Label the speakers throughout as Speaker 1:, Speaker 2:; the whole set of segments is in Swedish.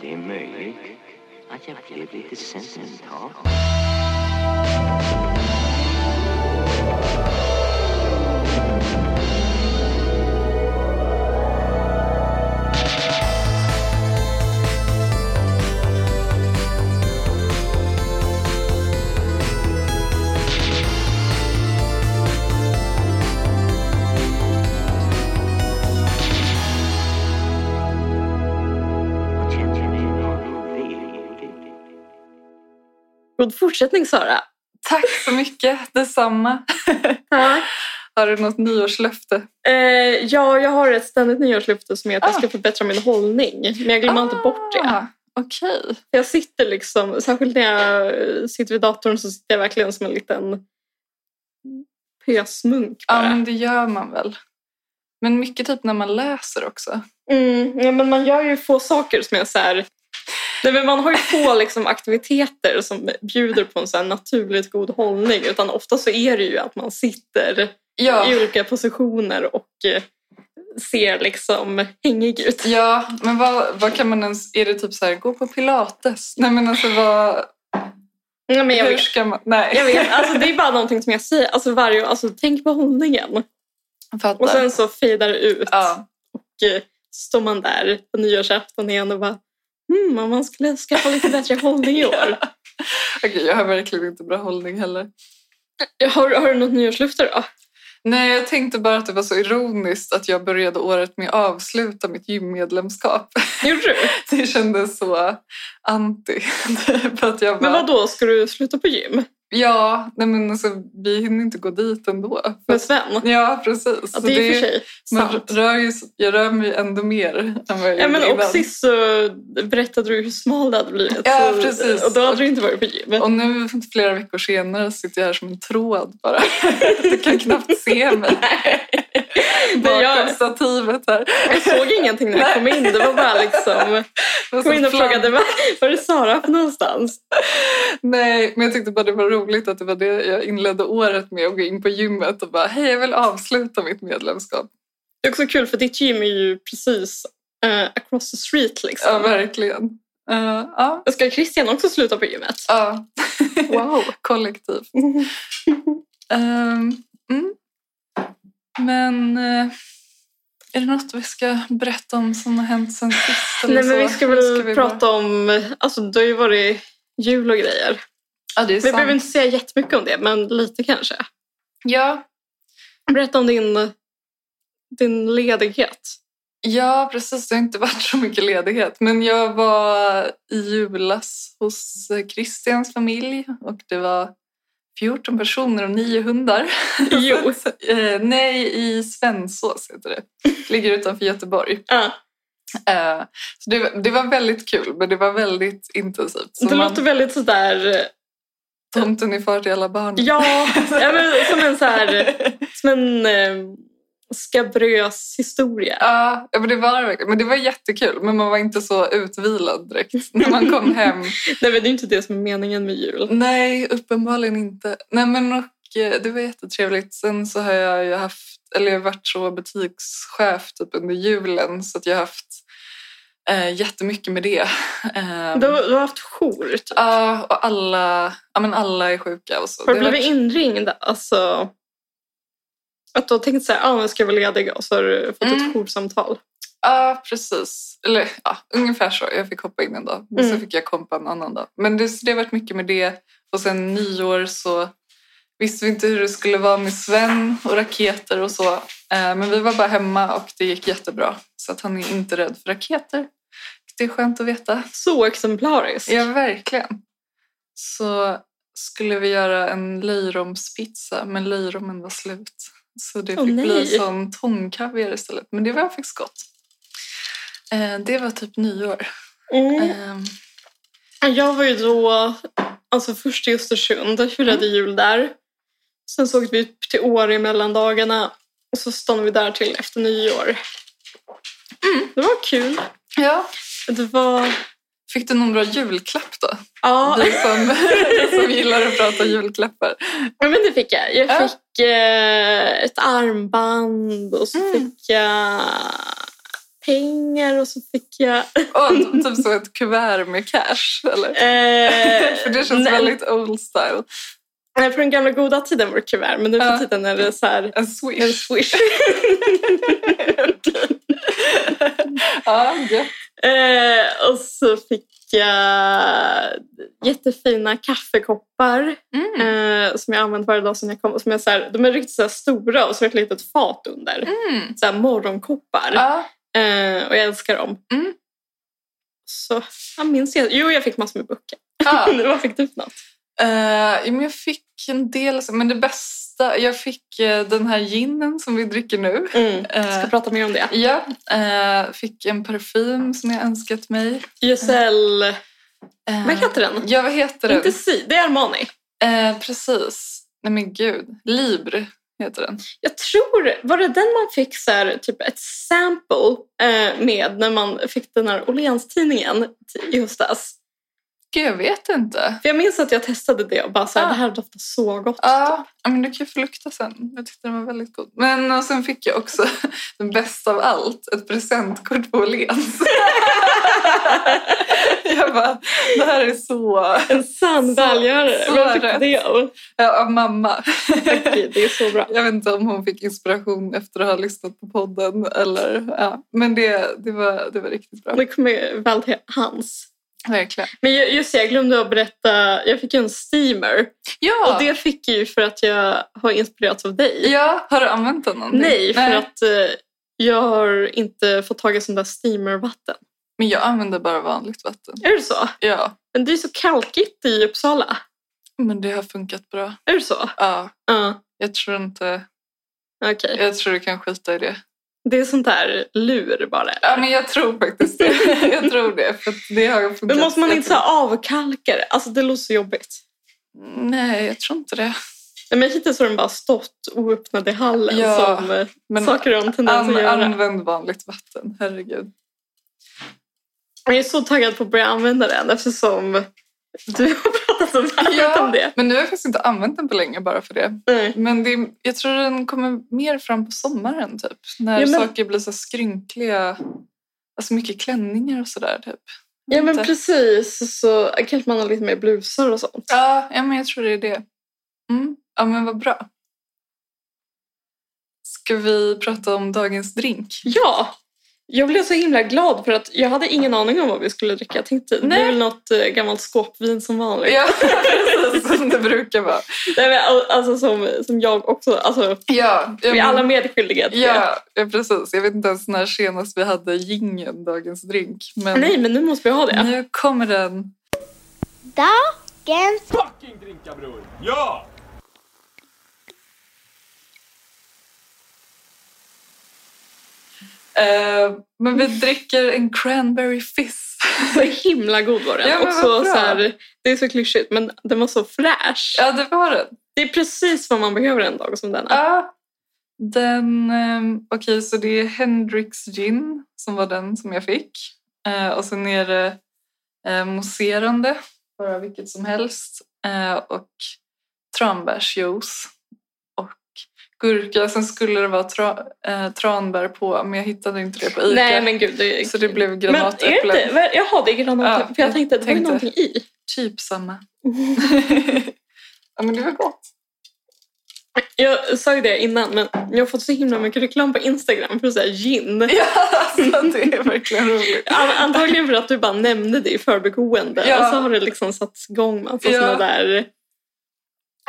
Speaker 1: Det är möjligt att jag blev lite sentimental. Jag känner mig väldigt...
Speaker 2: God fortsättning Sara.
Speaker 3: Tack så mycket, detsamma. Har du något nyårslöfte?
Speaker 2: Eh, ja, jag har ett ständigt nyårslöfte som är att jag
Speaker 3: Ah.
Speaker 2: ska förbättra min hållning. Men jag glömmer inte bort det.
Speaker 3: Ah, Okej.
Speaker 2: Jag sitter liksom, särskilt när jag eh, sitter vid datorn så sitter jag verkligen som en liten pösmunk
Speaker 3: Ja,
Speaker 2: bara.
Speaker 3: men det gör man väl. Men mycket typ när man läser också.
Speaker 2: Mm, ja, men man gör ju få saker som är så här... Nej, men man har ju få liksom, aktiviteter som bjuder på en så här naturligt god hållning. Utan ofta så är det ju att man sitter i
Speaker 3: Ja,
Speaker 2: olika positioner och eh, ser liksom hängig ut.
Speaker 3: ja men vad, vad kan man ens... Är det typ så här, gå på pilates? Nej men alltså vad...
Speaker 2: Nej, men jag,
Speaker 3: hur
Speaker 2: vet,
Speaker 3: ska man... Nej.
Speaker 2: jag vet. Alltså, det är bara någonting som jag säger. Alltså, varje, alltså, tänk på hållningen.
Speaker 3: Jag fattar.
Speaker 2: Och sen så fejdar det ut.
Speaker 3: ja.
Speaker 2: Och eh, står man där på nyårsafton igen och bara Hmm, om man skulle skaffa lite bättre hållning i år.
Speaker 3: Okej, jag har verkligen inte bra hållning heller.
Speaker 2: Har, har du något nyårslöfte då?
Speaker 3: Nej, jag tänkte bara att det var så ironiskt att jag började året med att avsluta mitt gymmedlemskap.
Speaker 2: Gjorde du?
Speaker 3: Det kändes så anti. typ, att jag bara,
Speaker 2: Men vad då ska du sluta på gym
Speaker 3: Ja, nej men alltså, vi hinner inte gå dit ändå.
Speaker 2: med Sven?
Speaker 3: Ja, precis.
Speaker 2: Ja,
Speaker 3: Så
Speaker 2: det är i och för sig
Speaker 3: man
Speaker 2: sant.
Speaker 3: rör ju, jag rör mig ändå mer än vad jag
Speaker 2: Ja,
Speaker 3: gjorde
Speaker 2: men och
Speaker 3: innan.
Speaker 2: sist så berättade du hur smal det hade blivit.
Speaker 3: Ja,
Speaker 2: så,
Speaker 3: precis.
Speaker 2: Och då hade du inte varit på gym.
Speaker 3: Och nu flera veckor senare sitter jag här som en tråd bara. Du kan knappt se mig
Speaker 2: Det gör-
Speaker 3: bakom stativet här.
Speaker 2: Jag såg ingenting när jag kom in. Det var bara liksom...
Speaker 3: Det
Speaker 2: Kom
Speaker 3: var så
Speaker 2: in och
Speaker 3: flam-
Speaker 2: frågade var, var är Sara för någonstans?
Speaker 3: Nej, men jag tyckte bara det var roligt att det var det jag inledde året med att gå in på gymmet och bara hej, jag vill avsluta mitt medlemskap.
Speaker 2: Det är också kul för ditt gym är ju precis eh, across the street liksom.
Speaker 3: Ja, verkligen. Eh, Ja,
Speaker 2: Ska Christian också sluta på gymmet? Mm.
Speaker 3: ja,
Speaker 2: Wow.
Speaker 3: kollektiv. Ehm, mm. Men eh, är det något vi ska berätta om som har hänt sen sist? eller
Speaker 2: Nej men
Speaker 3: så?
Speaker 2: vi ska väl prata om... Alltså det har ju varit jul och grejer.
Speaker 3: bara- Ja, det är
Speaker 2: Vi behöver
Speaker 3: sant.
Speaker 2: inte säga jättemycket om det men lite kanske.
Speaker 3: Ja,
Speaker 2: Berätta om din, din ledighet.
Speaker 3: ja, precis. Det har inte varit så mycket ledighet. Men jag var i julas hos eh, Christians familj och det var 14 personer och 9 hundar.
Speaker 2: Jo.
Speaker 3: Så, eh, nej, i Svensås heter det. Ligger utanför Göteborg.
Speaker 2: Ja,
Speaker 3: Eh, så det, var- det var väldigt kul, men det var väldigt intensivt. Så
Speaker 2: det
Speaker 3: man-
Speaker 2: låter väldigt sådär...
Speaker 3: Tomten är far till alla barn.
Speaker 2: Ja, ja men, som en så här, Som en eh, skabrös historia.
Speaker 3: Ja, ja, men det var det verkligen. Men det var jättekul. Men man var inte så utvilad direkt när man kom hem.
Speaker 2: Nej, men det är ju inte det som är meningen med jul.
Speaker 3: Nej, uppenbarligen inte. Nej, men och, eh, det var jättetrevligt. Sen så har jag ju haft, eller jag har varit så butikschef typ under julen så att jag har haft eh, jättemycket med det. Ehm,
Speaker 2: Du, har- du har haft jour. Typ.
Speaker 3: Ja, och alla, ja, men alla är sjuka och så.
Speaker 2: Har du
Speaker 3: Det har
Speaker 2: blivit
Speaker 3: varit-
Speaker 2: inringd? Alltså, att du har tänkt så här, ah, nu ska jag vara ledig och så har du fått
Speaker 3: Mm.
Speaker 2: ett joursamtal.
Speaker 3: Ja, precis. Eller ja, ungefär så. Jag fick hoppa in en dag. Men
Speaker 2: Mm.
Speaker 3: så fick jag kompa en annan dag. Men det, så det har varit mycket med det. Och sen nyår så visste vi inte hur det skulle vara med Sven och raketer och så. Eh, Men vi var bara hemma och det gick jättebra. Så att han är inte rädd för raketer. Det är skönt att veta.
Speaker 2: Så exemplariskt.
Speaker 3: Ja, verkligen. Så skulle vi göra en löjromspizza, men löjromen var slut. Så det
Speaker 2: Åh,
Speaker 3: fick bli
Speaker 2: nej.
Speaker 3: sån tonkaviar istället. Men det var faktiskt gott. Eh, det var typ nyår.
Speaker 2: Mm.
Speaker 3: Ehm,
Speaker 2: Jag var ju då alltså först i Östersund, firade jul där. Sen så åkte vi upp till Åre i mellandagarna och så stannade vi där till efter nyår. Det var kul.
Speaker 3: ja.
Speaker 2: Det var...
Speaker 3: Fick du någon bra julklapp då?
Speaker 2: Ja,
Speaker 3: Du som, du som gillar att prata julklappar.
Speaker 2: men det fick jag. Jag
Speaker 3: Ja.
Speaker 2: fick eh, ett armband och så
Speaker 3: Mm.
Speaker 2: fick jag pengar och så fick jag...
Speaker 3: Åh, typ- typ så ett kuvert med cash, eller?
Speaker 2: Eh,
Speaker 3: För det känns
Speaker 2: nej,
Speaker 3: väldigt old style.
Speaker 2: nej, på den gamla goda tiden var det kuvert, men nu för
Speaker 3: Ja.
Speaker 2: tiden är det så här...
Speaker 3: En
Speaker 2: En
Speaker 3: swish.
Speaker 2: swish.
Speaker 3: ja, gött.
Speaker 2: eh, och så fick jag jättefina kaffekoppar
Speaker 3: Mm.
Speaker 2: eh, som jag använt varje dag sedan jag kom. Och som jag, så här, de är riktigt så här stora och så är det ett litet fat under.
Speaker 3: Mm.
Speaker 2: Så här morgonkoppar.
Speaker 3: Ja.
Speaker 2: Eh, och jag älskar dem.
Speaker 3: Mm.
Speaker 2: Så jag minns jag. Jo, jag fick massor med böcker.
Speaker 3: Ja.
Speaker 2: Vad fick du för något?
Speaker 3: Eh, jo, men jag fick en del, alltså, men det bästa, jag fick eh, den här ginen som vi dricker nu.
Speaker 2: Mm.
Speaker 3: Eh,
Speaker 2: Ska prata mer om det.
Speaker 3: Ja, eh, fick en parfym som jag önskat mig.
Speaker 2: Giselle...
Speaker 3: Eh,
Speaker 2: Vad heter den?
Speaker 3: Ja, vad heter den?
Speaker 2: Inte Si, det är Armani.
Speaker 3: Eh, precis. Nej men gud. Libre heter den.
Speaker 2: Jag tror, var det den man fick så här, typ ett sample eh, med när man fick den här Åhléns-tidningen t- i höstas?
Speaker 3: Gud, jag vet inte.
Speaker 2: För jag minns att jag testade det och bara så här,
Speaker 3: Ah.
Speaker 2: det här doftar så gott.
Speaker 3: Ja, ja, men du kan ju få lukta sen. Jag tyckte den var väldigt god. Men och sen fick jag också, den bästa av allt, ett presentkort på Åhléns. jag bara, det här är så...
Speaker 2: En sann
Speaker 3: Så-
Speaker 2: välgörare.
Speaker 3: så
Speaker 2: Vem fick
Speaker 3: rätt.
Speaker 2: det? av?
Speaker 3: Ja, av mamma.
Speaker 2: Gud, det är så bra.
Speaker 3: Jag vet inte om hon fick inspiration efter att ha lyssnat på podden. Eller, ja. Men det, det, var, det var riktigt bra.
Speaker 2: Det kommer väl till hans.
Speaker 3: Verkligen.
Speaker 2: Men ju- just det, jag glömde att berätta. Jag fick ju en steamer.
Speaker 3: Ja!
Speaker 2: Och det fick jag ju för att jag har inspirerats av dig.
Speaker 3: ja, har du använt den någonting?
Speaker 2: Nej, för att eh, jag har inte fått tag i sån där steamervatten.
Speaker 3: Men jag använder bara vanligt vatten.
Speaker 2: Är det så?
Speaker 3: Ja,
Speaker 2: Men det är så kalkigt i Uppsala.
Speaker 3: men det har funkat bra.
Speaker 2: Är det så?
Speaker 3: Ja,
Speaker 2: Ja,
Speaker 3: jag tror inte...
Speaker 2: okej.
Speaker 3: Jag tror du kan skita i det.
Speaker 2: Det är sånt där lur bara.
Speaker 3: Ja, men jag tror faktiskt det. Jag tror det, för att det har funkat.
Speaker 2: Men måste man
Speaker 3: Jag
Speaker 2: inte så
Speaker 3: tror-
Speaker 2: här avkalka det? Alltså det låter så jobbigt.
Speaker 3: Nej, jag tror inte det.
Speaker 2: Nej, men hittills har den bara stått oöppnad i hallen
Speaker 3: Ja,
Speaker 2: som eh,
Speaker 3: Men
Speaker 2: saker har en tendens
Speaker 3: an,
Speaker 2: att göra.
Speaker 3: använd vanligt vatten, herregud.
Speaker 2: Jag är så taggad på att börja använda den eftersom du har pratat så varmt om det.
Speaker 3: men nu har jag faktiskt inte använt den på länge bara för det.
Speaker 2: Nej.
Speaker 3: Men det, är- jag tror den kommer mer fram på sommaren typ. När
Speaker 2: Ja, men-
Speaker 3: saker blir så skrynkliga. Alltså mycket klänningar och sådär typ.
Speaker 2: Ja men
Speaker 3: Inte.
Speaker 2: precis, så kanske man har lite mer blusar och sånt.
Speaker 3: Ja, ja men jag tror det är det. Mm. Ja, men vad bra. Ska vi prata om dagens drink?
Speaker 2: Ja! Jag blev så himla glad för att jag hade ingen aning om vad vi skulle dricka. Jag tänkte det
Speaker 3: Nej.
Speaker 2: är väl något eh, gammalt skåpvin som vanligt.
Speaker 3: Ja, precis som det brukar vara.
Speaker 2: Nej, men, al- alltså som, som jag också, alltså
Speaker 3: Ja, ja,
Speaker 2: vi är
Speaker 3: men-
Speaker 2: alla medskyldiga till det.
Speaker 3: ja, ja, precis. Jag vet inte ens när senast vi hade gingen dagens drink. Men
Speaker 2: Nej men nu måste vi ha det.
Speaker 3: nu kommer den.
Speaker 4: Dagens
Speaker 5: fucking drinka bror! Ja!
Speaker 3: Eh, men vi dricker en cranberry fizz.
Speaker 2: Så himla god var den.
Speaker 3: Ja, men
Speaker 2: och
Speaker 3: vad
Speaker 2: så,
Speaker 3: bra.
Speaker 2: så här, det är så klyschigt men den var så fräsch.
Speaker 3: Ja, det var den.
Speaker 2: Det är precis vad man behöver en dag som denna.
Speaker 3: Ja. Den, ehm, okej så det är Hendrix gin som var den som jag fick. Eh, och sen är det eh, mousserande, bara vilket som helst. Eh, och tranbärsjuice och gurka. Sen skulle det vara tra, eh, tranbär på men jag hittade inte det på Ica.
Speaker 2: Nej men gud. Det...
Speaker 3: Så det blev
Speaker 2: Men är
Speaker 3: granatäpple.
Speaker 2: det inte? vad- Jaha, det är granatäpple.
Speaker 3: Ja,
Speaker 2: för jag
Speaker 3: jag
Speaker 2: tänkte att det var ju
Speaker 3: tänkte.
Speaker 2: någonting i.
Speaker 3: Typ samma. ja men det var gott.
Speaker 2: Jag sa ju det innan, men jag har fått så himla mycket reklam på Instagram för så här gin.
Speaker 3: Ja, alltså, det är verkligen roligt.
Speaker 2: An- Antagligen för att du bara nämnde det i förbigående.
Speaker 3: Ja.
Speaker 2: Och så har det liksom satts igång massa
Speaker 3: Ja.
Speaker 2: såna där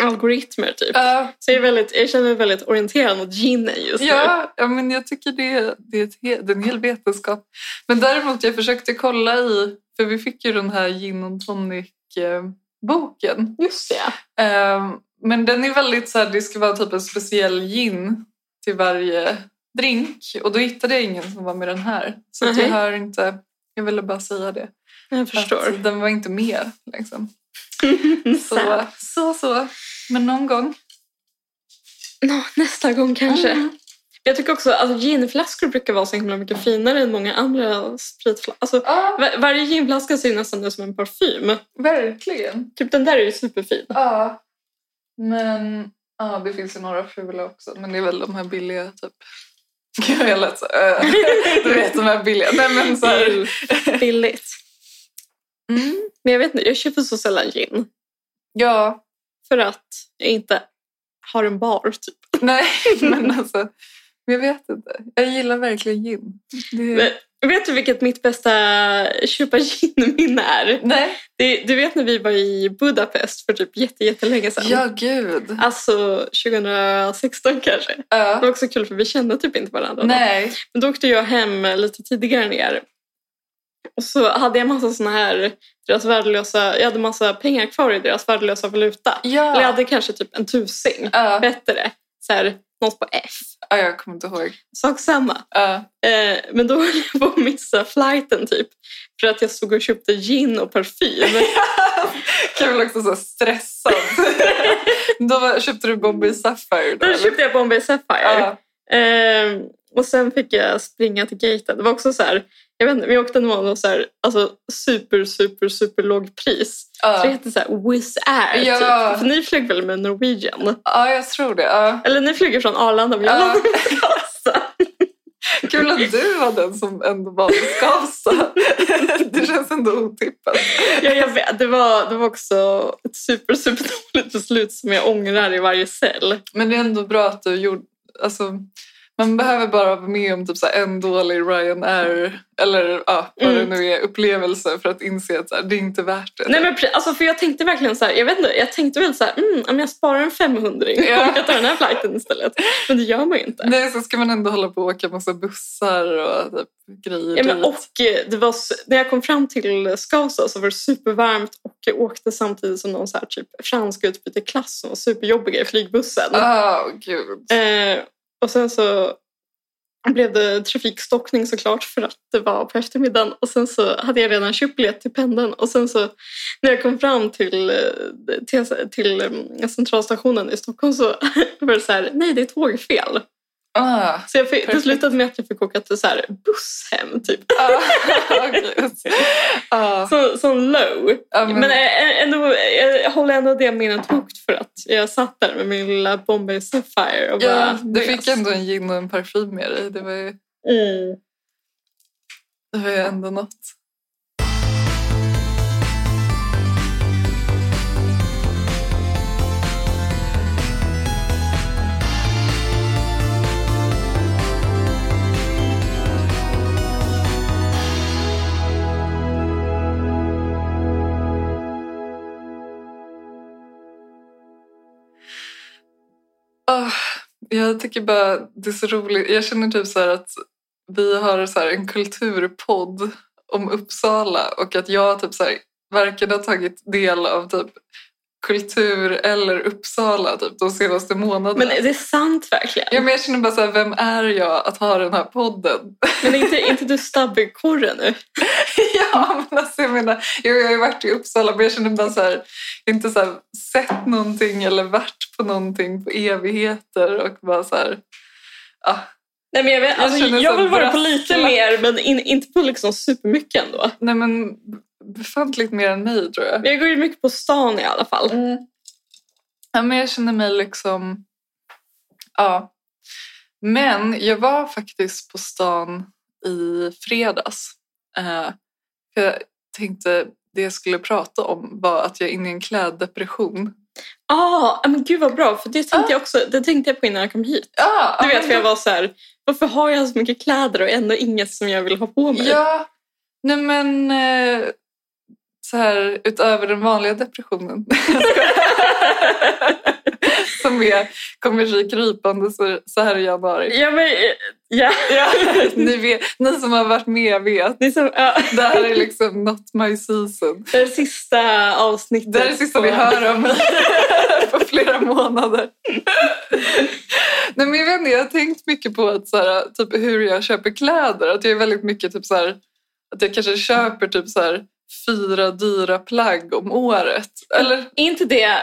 Speaker 2: algoritmer typ.
Speaker 3: Ja,
Speaker 2: Så jag, är väldigt, jag känner mig väldigt orienterad mot ginen just nu.
Speaker 3: Ja, ja men jag tycker det, det, är ett, he- det är en hel vetenskap. Men däremot, jag försökte kolla i, för vi fick ju den här gin och tonic-boken. Ehm,
Speaker 2: Just det.
Speaker 3: Men den är väldigt så här, det ska vara typ en speciell gin till varje drink. Och då hittade jag ingen som var med den här. Så att jag
Speaker 2: Mhm.
Speaker 3: har inte, jag ville bara säga det.
Speaker 2: Jag
Speaker 3: Att
Speaker 2: förstår.
Speaker 3: den var inte med liksom. Så, så, så. Men någon gång.
Speaker 2: Nå, nästa gång kanske.
Speaker 3: Mm.
Speaker 2: Jag tycker också att alltså, ginflaskor brukar vara så himla mycket finare än många andra spritflaskor. Alltså,
Speaker 3: Ja,
Speaker 2: Var- Varje ginflaska ser ju nästan ut som en parfym.
Speaker 3: verkligen.
Speaker 2: Typ den där är ju superfin.
Speaker 3: Ja. Men ja, det finns ju några fula också. Men det är väl de här billiga typ. Gud, jag lät så... eh, du vet, de här billiga. Nej, men så här...
Speaker 2: Billigt.
Speaker 3: Mm.
Speaker 2: Men jag vet inte, jag köper så sällan gin.
Speaker 3: Ja,
Speaker 2: För att jag inte har en bar typ.
Speaker 3: nej, men alltså... men Jag vet inte. Jag gillar verkligen gin. Det...
Speaker 2: Men, vet du vilket mitt bästa köpa gin-minne är?
Speaker 3: Nej.
Speaker 2: Det, du vet när vi var i Budapest för typ jätte, jättelänge sedan?
Speaker 3: Ja, gud.
Speaker 2: Alltså 2016 kanske. Det
Speaker 3: Ja.
Speaker 2: var också kul för vi kände typ inte varandra. då.
Speaker 3: Nej.
Speaker 2: Men då åkte jag hem lite tidigare än er. Och så hade jag massa såna här, deras värdelösa, jag hade massa pengar kvar i deras värdelösa valuta. Eller jag
Speaker 3: Ja.
Speaker 2: hade kanske typ en tusing.
Speaker 3: Ja.
Speaker 2: Bättre. Så här, något på F.
Speaker 3: ja, jag kommer inte ihåg.
Speaker 2: Sak samma.
Speaker 3: Ja.
Speaker 2: Eh, men då höll jag på att missa flighten typ. För att jag stod och köpte gin och parfym.
Speaker 3: Kul också så stressad. då var, köpte du Bobby Sapphire då?
Speaker 2: Då köpte jag Bombay Sapphire.
Speaker 3: Ja.
Speaker 2: Ehm, och sen fick jag springa till gaten. Det var också så här, jag vet inte, vi åkte någon och så här, alltså super, super, super låg pris. Så det
Speaker 3: Ja.
Speaker 2: hette så här Wizz Air.
Speaker 3: Ja.
Speaker 2: Typ. För ni flög väl med Norwegian?
Speaker 3: ja, jag tror det. Ja.
Speaker 2: Eller ni flyger från Arlanda, men jag
Speaker 3: Ja.
Speaker 2: landade i Karlstad.
Speaker 3: Kul att du var den som ändå valde Skavsta. det känns ändå otippat.
Speaker 2: ja, jag vet, det, var, det var också ett super, super dåligt beslut som jag ångrar i varje cell.
Speaker 3: Men det är ändå bra att du gjorde... Alltså, man behöver bara vara med om typ så här en dålig Ryanair eller ja, vad
Speaker 2: Mm.
Speaker 3: det nu är, upplevelse för att inse att så här, det är inte värt det.
Speaker 2: Nej, men, pre- alltså, för jag tänkte verkligen så här, jag vet inte, jag tänkte väl så här, mm, om jag sparar en 500
Speaker 3: Ja. Mm,
Speaker 2: om jag tar den här flighten istället. Men det gör man ju inte.
Speaker 3: Nej, så ska man ändå hålla på och åka massa bussar och typ, grejer
Speaker 2: Ja, men,
Speaker 3: dit.
Speaker 2: och eh, det var, s- när jag kom fram till Skavsta så var det supervarmt och jag åkte samtidigt som någon så här, typ, fransk utbyteklass som var superjobbiga i flygbussen.
Speaker 3: Ah, Åh, gud.
Speaker 2: Eh, och sen så blev det trafikstockning såklart för att det var på eftermiddagen och sen så hade jag redan köpt biljett till pendeln och sen så när jag kom fram till, eh, till, till eh, centralstationen i Stockholm så var det så här, nej det är tågfel.
Speaker 3: Ah.
Speaker 2: Så jag fick, det
Speaker 3: Perfekt.
Speaker 2: slutade med att jag fick åka till så här, buss hem typ.
Speaker 3: Ja, ah, gud. Ja.
Speaker 2: Så, som low.
Speaker 3: Ja,
Speaker 2: Men ä- ä- ändå, jag håller ändå det minnet högt för att jag satt där med min lilla Bombay Sapphire och
Speaker 3: ja,
Speaker 2: bara...
Speaker 3: du
Speaker 2: njös.
Speaker 3: fick ändå en gin och en parfym med dig. Det var ju,
Speaker 2: Mm.
Speaker 3: det var ju ändå något. Ah, jag tycker bara det är så roligt. Jag känner typ så här att vi har så här en kulturpodd om Uppsala och att jag typ så här varken har tagit del av typ kultur eller Uppsala typ de senaste månaderna.
Speaker 2: Men är det sant verkligen?
Speaker 3: Ja, men jag känner bara så här, vem är jag att ha den här podden?
Speaker 2: Men är inte, är inte du stabbigkorre nu?
Speaker 3: ja, men alltså jag menar, jo, jag har ju varit i Uppsala men jag känner bara så här, inte så här, sett någonting eller varit på någonting på evigheter och bara så här, ah,
Speaker 2: Nej, men jag, vet, alltså,
Speaker 3: känner
Speaker 2: jag,
Speaker 3: så
Speaker 2: vill vara på lite
Speaker 3: brassla.
Speaker 2: mer, men in, inte på liksom supermycket ändå.
Speaker 3: nej men b- befantligt mer än mig tror jag.
Speaker 2: Men Jag går ju mycket på stan i alla fall.
Speaker 3: Ja, men jag känner mig liksom... Ja. Men jag var faktiskt på stan i fredags. Eh, för jag tänkte det jag skulle prata om var att jag är inne i en kläddepression.
Speaker 2: Ah, men gud vad bra, för det tänkte, jag också, det tänkte jag på innan jag kom hit.
Speaker 3: Ja,
Speaker 2: Du
Speaker 3: ja,
Speaker 2: vet,
Speaker 3: men
Speaker 2: för jag
Speaker 3: då-
Speaker 2: var så här, varför har jag så mycket kläder och ändå inget som jag vill ha på mig?
Speaker 3: Ja, nej men... Eh, så här, utöver den vanliga depressionen som är, kommer sig krypande så, så här i januari.
Speaker 2: Ja, men, eh, ja.
Speaker 3: Ni, vet, ni som har varit med vet
Speaker 2: Det, är som, ja,
Speaker 3: Det här är liksom not my season.
Speaker 2: det är sista avsnittet.
Speaker 3: Det här är det sista vi hör om mig på flera månader. Nej, men jag, vet inte, jag har tänkt mycket på att, så här, typ, hur jag köper kläder. Att jag är väldigt mycket typ, så här, att jag kanske köper typ, så här, fyra dyra plagg om året. Eller,
Speaker 2: Är inte det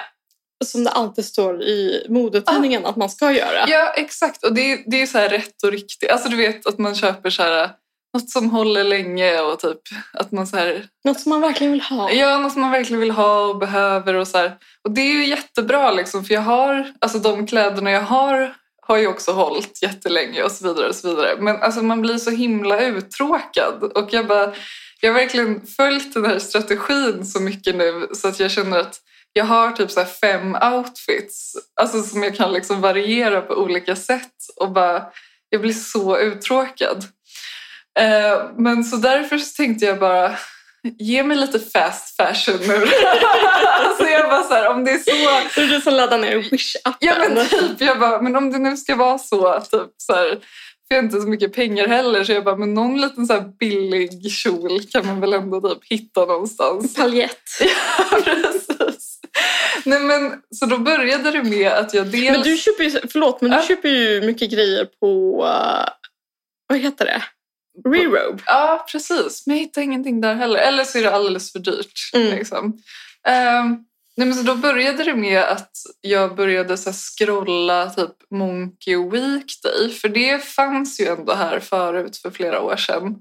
Speaker 2: som det alltid står i modetidningen att man ska göra?
Speaker 3: ja, exakt. Och det, är- det är så här rätt och riktigt. Alltså, du vet att man köper så här, något som håller länge och typ, att man så här,
Speaker 2: Något som man verkligen vill ha.
Speaker 3: Ja, något som man verkligen vill ha och behöver. Och, så här. och det är ju jättebra, liksom, för jag har, alltså de kläderna jag har har ju också hållit jättelänge och så vidare. och så vidare. Men alltså man blir så himla uttråkad. Och jag, bara, jag har verkligen följt den här strategin så mycket nu så att jag känner att jag har typ så här fem outfits alltså som jag kan liksom variera på olika sätt. Och bara, Jag blir så uttråkad. Eh, men så därför så tänkte jag bara ge mig lite fast fashion nu. alltså jag bara så här, om det är så
Speaker 2: Det är du som laddar ner Wish-appen.
Speaker 3: Ja men typ, jag bara, men om det nu ska vara så, typ så här, för jag har inte så mycket pengar heller, så jag bara, men någon liten så här billig kjol kan man väl ändå typ hitta någonstans.
Speaker 2: Paljett.
Speaker 3: Ja, precis. Nej men, så då började det med att jag dels...
Speaker 2: Men du köper ju, förlåt, men du
Speaker 3: Ja.
Speaker 2: köper ju mycket grejer på, eh, vad heter det? Rerobe.
Speaker 3: Ja, precis. Men jag hittar ingenting där heller. Eller så är det alldeles för dyrt.
Speaker 2: Mm.
Speaker 3: Liksom. Ehm, nej, men så då började det med att jag började så här, scrolla typ Monkey Weekday. För det fanns ju ändå här förut för flera år sedan.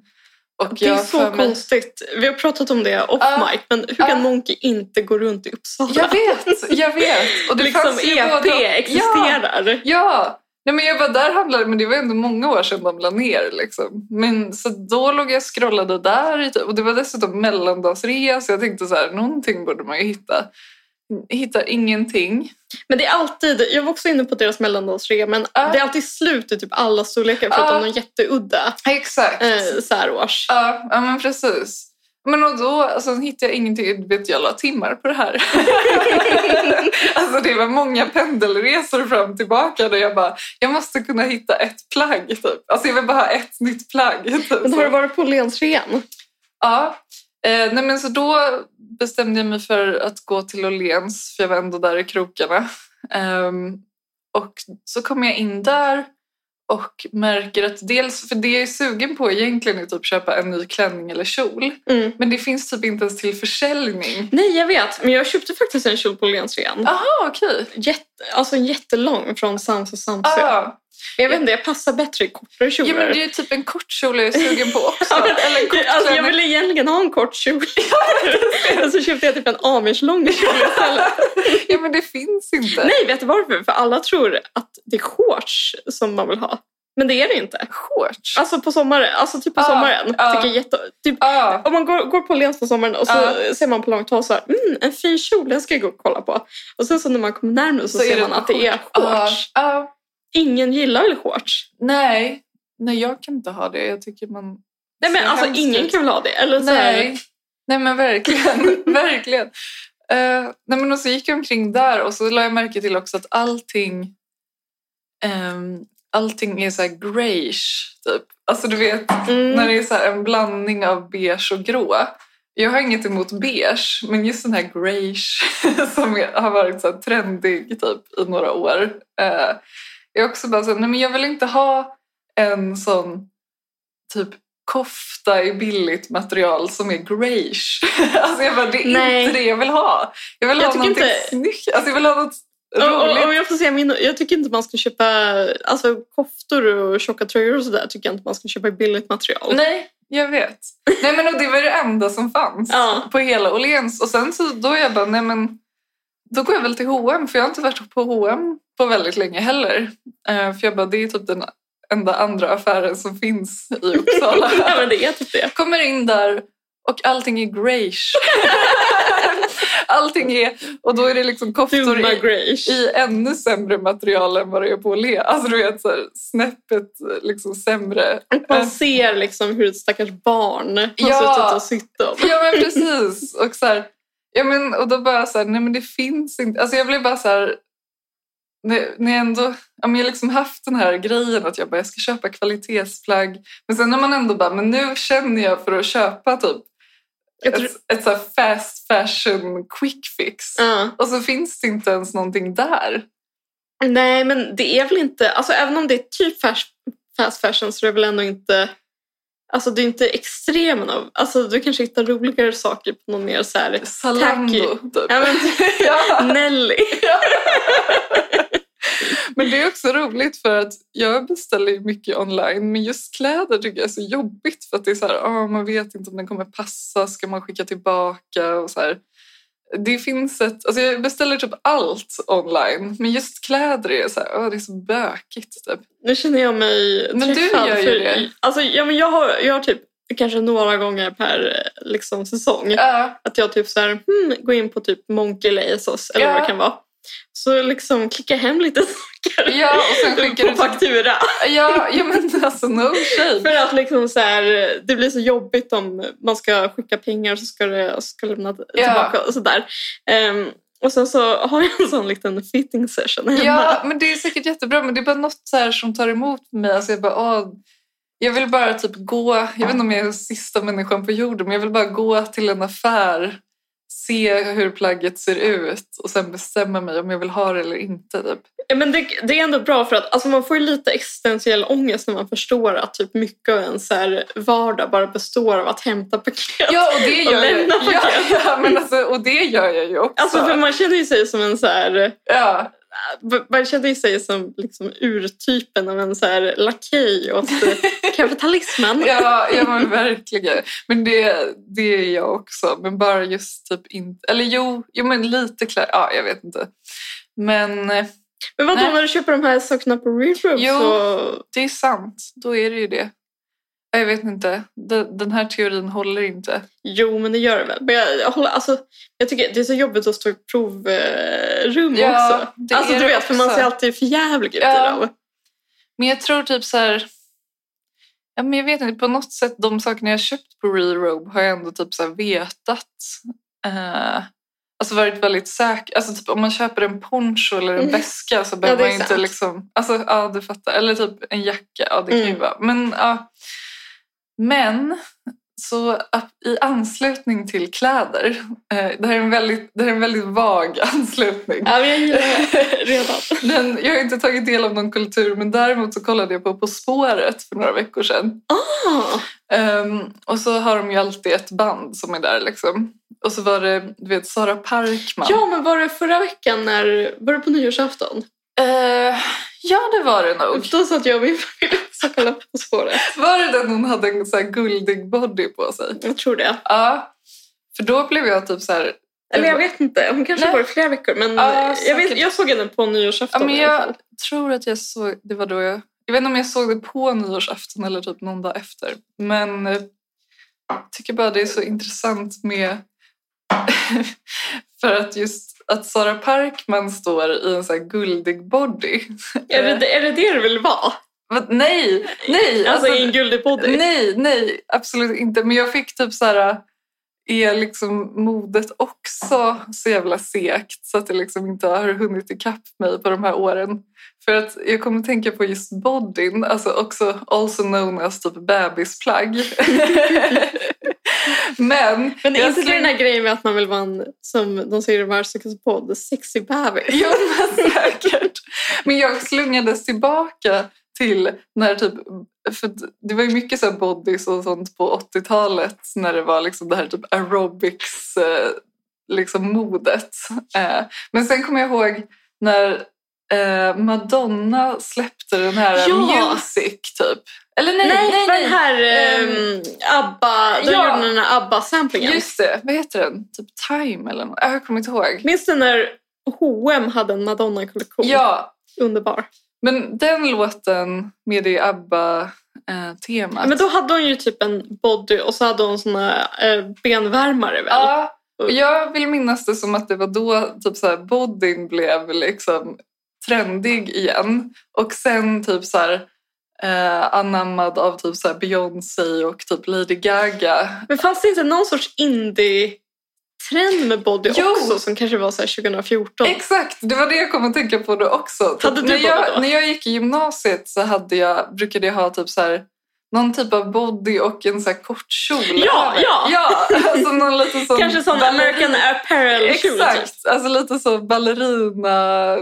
Speaker 3: Och
Speaker 2: Det är
Speaker 3: jag
Speaker 2: så
Speaker 3: för mig-
Speaker 2: konstigt. Vi har pratat om det off
Speaker 3: Ja.
Speaker 2: mic, men hur
Speaker 3: Ja.
Speaker 2: kan Monkey inte gå runt i Uppsala?
Speaker 3: Jag vet, jag vet. Och det
Speaker 2: liksom
Speaker 3: fanns ju
Speaker 2: EP
Speaker 3: både- Ja,
Speaker 2: existerar.
Speaker 3: Ja! Nej, men jag var där handlade, men det var ändå många år sedan de la ner. Liksom. Men, så då låg jag och scrollade där. i typ- Och det var dessutom mellandagsrea, så jag tänkte så här, någonting borde man ju hitta. Hittar ingenting.
Speaker 2: Men det är alltid, jag var också inne på deras mellandagsrea, men
Speaker 3: Ja.
Speaker 2: det är alltid slut i typ alla storlekar förutom
Speaker 3: Ja.
Speaker 2: de jätteudda
Speaker 3: Exakt.
Speaker 2: eh, särårs.
Speaker 3: Ja, ja, men precis. Men och då alltså, hittade jag ingenting. Du vet, jag la timmar på det här. alltså det var många pendelresor fram och tillbaka där jag bara, jag måste kunna hitta ett plagg typ. Alltså jag vill bara ha ett nytt plagg. Typ.
Speaker 2: Men
Speaker 3: Så.
Speaker 2: har du varit på Åhlénsrean?
Speaker 3: Ja. Eh, nej men så då bestämde jag mig för att gå till Åhléns, för jag var ändå där i krokarna. Ehm, och så kom jag in där och märker att dels, för det jag är sugen på egentligen är typ att köpa en ny klänning eller kjol.
Speaker 2: Mm.
Speaker 3: Men det finns typ inte ens till försäljning.
Speaker 2: Nej, jag vet. Men jag köpte faktiskt en kjol på Åhlénsrean.
Speaker 3: Jaha, okej.
Speaker 2: Jätte, alltså en jättelång från Sams och Samsö.
Speaker 3: Ah.
Speaker 2: Jag vet inte, jag passar bättre i kortare
Speaker 3: Ja,
Speaker 2: kjolar.
Speaker 3: men det är ju typ en kort kjol jag är sugen på också.
Speaker 2: Ja, men-
Speaker 3: Eller en kort
Speaker 2: alltså, jag
Speaker 3: klänning.
Speaker 2: ville egentligen ha en kort kjol. Och så köpte jag typ en amerslång kjol istället.
Speaker 3: ja, men det finns inte.
Speaker 2: Nej, vet du varför? För alla tror att det är shorts som man vill ha. Men det är det inte.
Speaker 3: Shorts?
Speaker 2: Alltså på sommaren. Alltså typ på
Speaker 3: Ja,
Speaker 2: sommaren.
Speaker 3: ja.
Speaker 2: Tycker jag jätte... typ,
Speaker 3: Ja.
Speaker 2: om man går, går på Åhléns på sommaren och så
Speaker 3: Ja.
Speaker 2: ser man på långt håll så här, mm, en fin kjol, den ska jag gå och kolla på. Och sen så när man kommer närmare så,
Speaker 3: Så är
Speaker 2: ser
Speaker 3: det Ah.
Speaker 2: man att det är shorts.
Speaker 3: Ja. Ja.
Speaker 2: Ingen gillar väl shorts?
Speaker 3: Nej. Nej, jag kan inte ha det. Jag tycker man...
Speaker 2: Nej men
Speaker 3: ser
Speaker 2: alltså
Speaker 3: hemskt
Speaker 2: ingen
Speaker 3: ut.
Speaker 2: kan väl ha det? Eller så här,
Speaker 3: Nej. Nej, men verkligen. verkligen. Eh, nej, men och så gick jag omkring där och så la jag märke till också att allting, ehm, allting är så här grayish, typ. Alltså du vet,
Speaker 2: mm,
Speaker 3: när det är så här en blandning av beige och grå. Jag har inget emot beige, men just den här grayish som är- har varit så här trendig typ, i några år. Eh, jag är också bara så här, nej men jag vill inte ha en sån typ kofta i billigt material som är grayish. alltså jag bara, det är
Speaker 2: Nej.
Speaker 3: inte det jag vill ha. Jag vill
Speaker 2: Jag
Speaker 3: ha
Speaker 2: tycker
Speaker 3: någonting
Speaker 2: inte-
Speaker 3: snyggt. Alltså jag vill ha något
Speaker 2: och,
Speaker 3: roligt.
Speaker 2: och, och jag får säga min, jag tycker inte man ska köpa alltså, koftor och tjocka tröjor och sådär tycker jag inte man ska köpa i billigt material.
Speaker 3: Nej, jag vet. Nej, men och det var det enda som fanns
Speaker 2: Ja.
Speaker 3: på hela Åhléns. Och sen så då jag bara, nej men då går jag väl till H&M för jag har inte varit på H&M på väldigt länge heller. Eh, för jag bara, det är typ den enda andra affären som finns i Uppsala.
Speaker 2: ja, men det är typ det.
Speaker 3: Kommer in där och allting är grayish. allting är, och då är det liksom koftor
Speaker 2: Dumma
Speaker 3: i,
Speaker 2: grayish.
Speaker 3: i ännu sämre material än vad det är på Åhléns. Alltså du vet, så här, snäppet liksom sämre
Speaker 2: Man ser liksom hur ett stackars barn har
Speaker 3: Ja.
Speaker 2: suttit och sytt om.
Speaker 3: Ja men precis. Och, så här, ja, men, och då bara så här, nej men det finns inte. Alltså jag blev bara så här, när, när jag ändå, ja, men jag har liksom haft den här grejen att jag bara jag ska köpa kvalitetsplagg. Men sen när man ändå bara, men nu känner jag för att köpa typ
Speaker 2: Jag tror,
Speaker 3: ett, ett så här fast fashion quick fix.
Speaker 2: Ja.
Speaker 3: Och så finns det inte ens någonting där.
Speaker 2: Nej, men det är väl inte... Alltså, även om det är typ fast, fast fashion så är det väl ändå inte... Alltså det är inte extremen av... Alltså du kanske hittar roligare saker på någon mer så här...
Speaker 3: Zalando
Speaker 2: Tack.
Speaker 3: typ.
Speaker 2: Ja, men,
Speaker 3: Ja.
Speaker 2: Nelly.
Speaker 3: Men det är också roligt för att jag beställer ju mycket online men just kläder tycker jag är så jobbigt för att det är så här, ah, man vet inte om den kommer passa, ska man skicka tillbaka och så här. det finns ett... Alltså jag beställer typ allt online. Men just kläder är så här, åh, det är så bökigt. Typ.
Speaker 2: Nu känner jag mig
Speaker 3: Men du
Speaker 2: träffad,
Speaker 3: gör ju
Speaker 2: för-
Speaker 3: det.
Speaker 2: Alltså, ja, men jag, har, jag har typ kanske några gånger per eh, liksom, säsong.
Speaker 3: Ja,
Speaker 2: Att jag typ så här, hmm, går in på typ Monkey Lasos eller
Speaker 3: Ja.
Speaker 2: vad det kan vara. Så liksom klickar hem lite saker
Speaker 3: ja, och sen skickar
Speaker 2: på
Speaker 3: du... Till,
Speaker 2: faktura.
Speaker 3: ja, ja, men alltså no shade.
Speaker 2: För att liksom så här, det blir så jobbigt om man ska skicka pengar så ska det och så ska lämna tillbaka och sådär. Ehm, och sen så har jag en sån liten fitting session hemma.
Speaker 3: Ja, men det är säkert jättebra. Men det är bara något så här som tar emot mig. Alltså jag bara, åh, jag vill bara typ gå, jag vet inte om jag är sista människan på jorden, men jag vill bara gå till en affär, se hur plagget ser ut och sen bestämma mig om jag vill ha det eller inte. Typ.
Speaker 2: Ja, men det, det är ändå bra för att alltså, man får ju lite existentiell ångest när man förstår att typ mycket av ens så här, vardag bara består av att hämta paket.
Speaker 3: Ja, och det
Speaker 2: Och
Speaker 3: gör jag,
Speaker 2: lämna
Speaker 3: ja, ja, men alltså, och det gör jag ju också.
Speaker 2: Alltså för man känner ju sig som en så här,
Speaker 3: ja.
Speaker 2: man känner ju sig som liksom urtypen av en så här lakej åt eh, kapitalismen.
Speaker 3: Ja, ja men verkligen. Men det, det är jag också. Men bara just typ inte... Eller jo, jo men lite klart. Ja, jag vet inte. Men eh,
Speaker 2: Men vadå
Speaker 3: Nej.
Speaker 2: när du köper de här sakerna på Reverb
Speaker 3: Jo.
Speaker 2: så...
Speaker 3: det är sant. Då är det ju det. Ja, Jag vet inte. De- Den här teorin håller inte.
Speaker 2: Jo men det gör det väl. Men jag, jag, håller, alltså, jag tycker det är så jobbigt att stå i provrum
Speaker 3: Ja,
Speaker 2: också.
Speaker 3: det
Speaker 2: alltså
Speaker 3: är
Speaker 2: du
Speaker 3: det
Speaker 2: vet för man
Speaker 3: också.
Speaker 2: ser alltid för jävlig ut
Speaker 3: Ja.
Speaker 2: i dem.
Speaker 3: Men jag tror typ så här... Ja, men jag vet inte. På något sätt, de sakerna jag köpt på Rerobe har jag ändå typ så här vetat. Eh, alltså varit väldigt säker. Alltså typ om man köper en poncho eller en
Speaker 2: Mm.
Speaker 3: väska så behöver
Speaker 2: det är
Speaker 3: man ju inte
Speaker 2: sant.
Speaker 3: liksom... Alltså, ja, du fattar. Eller typ en jacka. Ja, det kan ju
Speaker 2: Mm.
Speaker 3: vara. Men, ja. men så att i anslutning till kläder. eh, det, här är en väldigt, det här är en väldigt vag anslutning.
Speaker 2: Ja, men jag gillar det redan.
Speaker 3: Men jag har inte tagit del av någon kultur, men däremot så kollade jag på På spåret för några veckor sedan.
Speaker 2: Ah,
Speaker 3: Ehm, och så har de ju alltid ett band som är där liksom. Och så var det, du vet, Sara Parkman.
Speaker 2: ja men var det förra veckan när... Var det på nyårsafton?
Speaker 3: Eh, ja det var det nog.
Speaker 2: Då satt jag och min familj och kollade På spåret.
Speaker 3: Var det den hon hade en så här guldig body på sig?
Speaker 2: Jag tror det.
Speaker 3: Ja. För då blev jag typ så här...
Speaker 2: Eller jag vet inte, hon kanske
Speaker 3: Nej.
Speaker 2: var det flera veckor. Men
Speaker 3: Ja,
Speaker 2: jag,
Speaker 3: säkert.
Speaker 2: vet, jag såg henne på
Speaker 3: Ja,
Speaker 2: nyårsafton
Speaker 3: men
Speaker 2: i alla fall.
Speaker 3: jag tror att jag såg... Det var då jag... Jag vet inte om jag såg det på nyårsafton eller typ någon dag efter. Men eh, jag tycker bara det är så intressant med... för att just att Sara Parkman står i en så här guldig body. Eh,
Speaker 2: Är det, är det det du vill vara?
Speaker 3: Vad- Nej! Nej!
Speaker 2: Alltså,
Speaker 3: alltså-
Speaker 2: i en guldig body?
Speaker 3: Nej, nej, absolut inte. Men jag fick typ så här... Är liksom modet också så jävla segt så att det liksom inte har hunnit ikapp mig på de här åren? För att jag kommer tänka på just bodyn, alltså också also known as typ bebisplagg. Men...
Speaker 2: Men är
Speaker 3: jag
Speaker 2: inte det
Speaker 3: släng-
Speaker 2: den här grejen med att man vill vara en, som de säger i Varsikas podd, sexy bebis?
Speaker 3: Jo, men säkert. Men jag slungades tillbaka till när typ... För att det var ju mycket så här bodys och sånt på 80-talet när det var liksom det här typ aerobics eh, liksom modet. Eh, Men sen kommer jag ihåg när eh, Madonna släppte den här
Speaker 2: Ja.
Speaker 3: Music typ. Eller nej,
Speaker 2: Nej,
Speaker 3: nej, nej.
Speaker 2: den här ehm, ABBA, de
Speaker 3: ja.
Speaker 2: gjorde den här ABBA-samplingen.
Speaker 3: Just det, vad heter den? Typ Time eller något? Jag kommer inte ihåg.
Speaker 2: Minns du när H&M hade en Madonna-kollektion?
Speaker 3: Ja,
Speaker 2: Underbar.
Speaker 3: Men den låten med det ABBA-temat.
Speaker 2: Men då hade hon ju typ en body och så hade hon såna eh, benvärmare väl?
Speaker 3: ja, och jag vill minnas det som att det var då typ så här, bodyn blev liksom trendig igen. Och sen typ så här, eh, anammad av typ så här Beyoncé och typ Lady Gaga.
Speaker 2: Men fanns det inte någon sorts indie-trend med body
Speaker 3: Jo.
Speaker 2: också som kanske var så här 2014?
Speaker 3: Exakt, det var det jag kom att tänka på då också. Typ,
Speaker 2: Hade du
Speaker 3: när,
Speaker 2: body
Speaker 3: jag,
Speaker 2: då?
Speaker 3: när jag gick i gymnasiet så hade jag, brukade jag ha typ så här, någon typ av body och en så här kort kjol.
Speaker 2: Ja,
Speaker 3: över.
Speaker 2: ja.
Speaker 3: ja alltså någon liten sån
Speaker 2: kanske sån
Speaker 3: ballerin-
Speaker 2: American Apparel-kjol. typ.
Speaker 3: Exakt, alltså lite så ballerina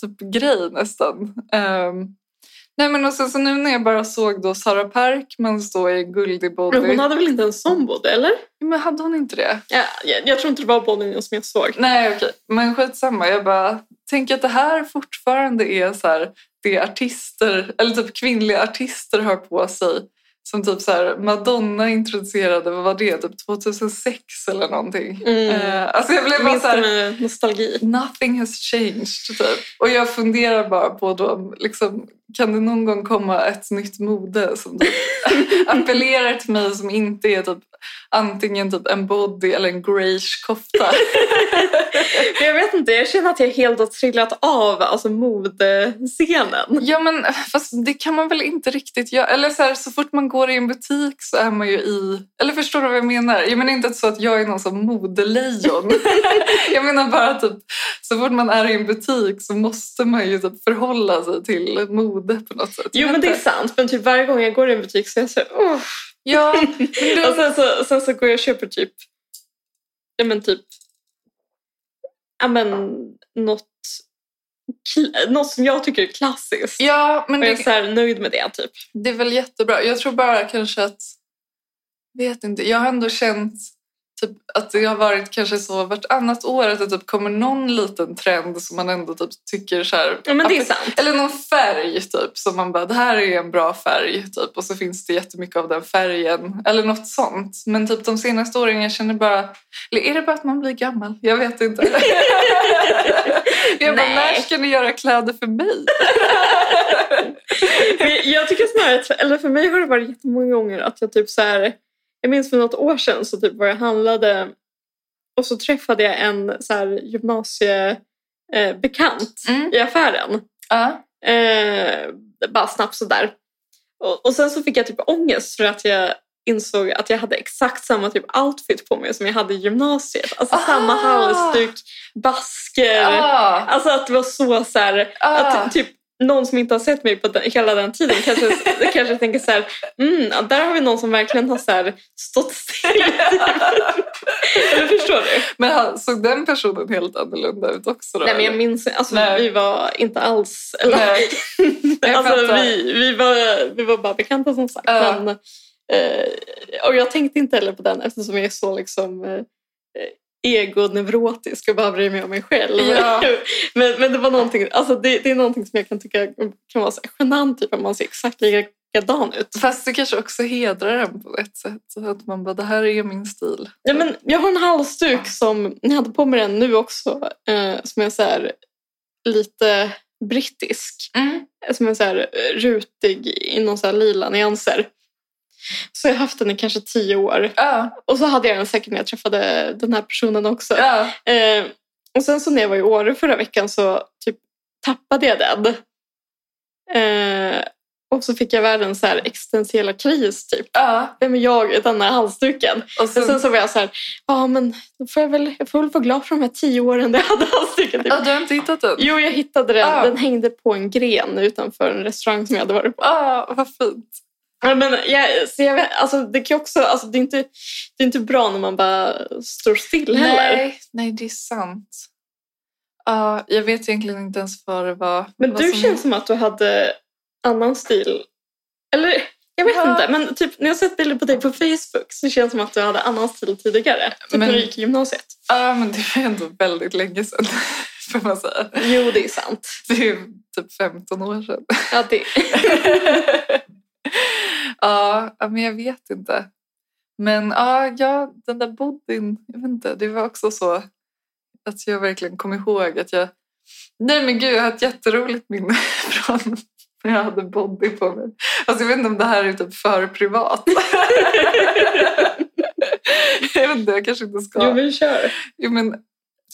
Speaker 3: typ grej nästan. Ehm, nej men och sen så nu när jag bara såg då Sara Parkman stå i guldig body.
Speaker 2: Men hon hade väl inte en sån body, eller?
Speaker 3: men hade hon inte det?
Speaker 2: Ja, jag, jag tror inte det var bodyn som jag såg.
Speaker 3: Nej okej, men skitsamma. Jag bara tänker att det här fortfarande är så här det artister, eller typ kvinnliga artister har på sig Som typ så här, Madonna introducerade, vad var det, typ 2006 eller någonting.
Speaker 2: Mm.
Speaker 3: Eh, alltså jag blev
Speaker 2: Jag
Speaker 3: bara
Speaker 2: minns
Speaker 3: så
Speaker 2: det
Speaker 3: här,
Speaker 2: med nostalgi.
Speaker 3: nothing has changed. Typ. Och jag funderar bara på då, om, liksom, kan det någon gång komma ett nytt mode som typ appellerar till mig som inte är typ, antingen typ en body eller en grayish kofta?
Speaker 2: Men jag vet inte, jag känner att jag helt har trillat av alltså modescenen.
Speaker 3: ja men fast det kan man väl inte riktigt göra. Eller så, här, så fort man går i en butik så är man ju i... Eller förstår du vad jag menar? Jag menar inte så att jag är någon som modelejon. jag menar bara typ så fort man är i en butik så måste man ju typ förhålla sig till mode på något sätt.
Speaker 2: Jo men det är sant, men typ varje gång jag går i en butik så är jag så här, "Åh,
Speaker 3: Ja, men
Speaker 2: Och
Speaker 3: du,
Speaker 2: sen så, sen så går jag och köper typ... Ja men typ... Ja men något, kl- något som jag tycker är klassiskt.
Speaker 3: ja, men
Speaker 2: Och jag är
Speaker 3: det,
Speaker 2: så här nöjd med det typ.
Speaker 3: det är väl jättebra. Jag tror bara kanske att... vet inte. Jag har ändå känt typ, att det har varit kanske så vartannat år att det typ kommer någon liten trend som man ändå typ tycker så här...
Speaker 2: Ja men det är sant.
Speaker 3: Eller någon färg typ som man bara, det här är en bra färg typ och så finns det jättemycket av den färgen eller något sånt. Men typ de senaste åren jag känner bara, eller är det bara att man blir gammal? Jag vet inte. jag bara,
Speaker 2: Nej.
Speaker 3: när ska ni göra kläder för mig?
Speaker 2: Men Jag tycker snarare att, eller för mig har det varit jättemånga gånger att jag typ så här... Jag minns för något år sedan så typ var jag handlade och så träffade jag en så här gymnasiebekant
Speaker 3: Mm.
Speaker 2: i affären.
Speaker 3: Ja.
Speaker 2: Eh, bara snabbt sådär. Och, och sen så fick jag typ ångest för att jag insåg att jag hade exakt samma typ outfit på mig som jag hade i gymnasiet. Alltså
Speaker 3: Ah!
Speaker 2: samma halsduk, basker.
Speaker 3: Ah,
Speaker 2: Alltså att det var så så här,
Speaker 3: ah.
Speaker 2: att typ någon som inte har sett mig på den, hela den tiden kanske, kanske tänker så här, mm, ja, där har vi någon som verkligen har så här stått still.
Speaker 3: Ah.
Speaker 2: Eller förstår du?
Speaker 3: Men han- såg den personen helt annorlunda ut också då?
Speaker 2: Nej men jag
Speaker 3: eller?
Speaker 2: minns alltså
Speaker 3: Nej.
Speaker 2: vi var inte alls, eller
Speaker 3: Nej. Jag
Speaker 2: alltså,
Speaker 3: fattar.
Speaker 2: vi, vi, var, vi var bara bekanta som sagt.
Speaker 3: Ja.
Speaker 2: Men, eh, och jag tänkte inte heller på den eftersom jag är så liksom eh, egoneurotisk och bara bryr mig om mig själv.
Speaker 3: Ja.
Speaker 2: men, men det var någonting, alltså det, det är någonting som jag kan tycka kan vara så här genant typ, om man ser exakt likadan ut.
Speaker 3: Fast det kanske också hedrar en på ett sätt. Så Att man bara, det här är min stil.
Speaker 2: Ja, men jag har en halsduk som, jag hade på mig den nu också, eh, som är så här lite brittisk.
Speaker 3: Mm.
Speaker 2: som är så här eh, rutig i någon så här lila nyanser. Så jag har haft den i kanske tio år.
Speaker 3: Ja,
Speaker 2: Och så hade jag den säkert när jag träffade den här personen också.
Speaker 3: ja.
Speaker 2: Eh, och sen så när jag var i Åre förra veckan så typ tappade jag den. Eh, och så fick jag världens så här existentiella kris typ.
Speaker 3: ja.
Speaker 2: Vem är jag utan den här halsduken?
Speaker 3: Och
Speaker 2: Men
Speaker 3: sen,
Speaker 2: sen så var jag så här, ja men då får jag väl, jag får väl vara glad för de här tio åren där jag hade halsduken. Typ.
Speaker 3: ja, du har inte hittat den?
Speaker 2: Jo, jag hittade den.
Speaker 3: Ah.
Speaker 2: Den hängde på en gren utanför en restaurang som jag hade varit på.
Speaker 3: Ah, vad fint.
Speaker 2: Ja, Men jag, så jag vet, alltså, det, kan ju också, alltså, det, är inte, det är inte bra när man bara står still heller.
Speaker 3: Nej, nej, det är sant. Ja, jag vet egentligen inte ens vad det var.
Speaker 2: Men
Speaker 3: vad
Speaker 2: du
Speaker 3: som-
Speaker 2: känns som att du hade annan stil. Eller jag vet
Speaker 3: Ja.
Speaker 2: inte, men typ, när jag sett bilder på dig på Facebook så känns det som att du hade annan stil tidigare. Typ
Speaker 3: Men-
Speaker 2: när du gick i gymnasiet.
Speaker 3: Ja, men det var ändå väldigt länge sedan, får man säga.
Speaker 2: Jo, det är sant.
Speaker 3: Det är ju typ 15 år sedan.
Speaker 2: Ja, det...
Speaker 3: Ja, ja, men jag vet inte. Men ja, ja, den där bodyn, jag vet inte, det var också så att jag verkligen kom ihåg att jag... Nej men gud, jag har ett jätteroligt minne från när jag hade body på mig. Alltså jag vet inte om det här är typ för privat. jag vet inte, jag kanske inte ska.
Speaker 2: Jo, men kör.
Speaker 3: Jo, men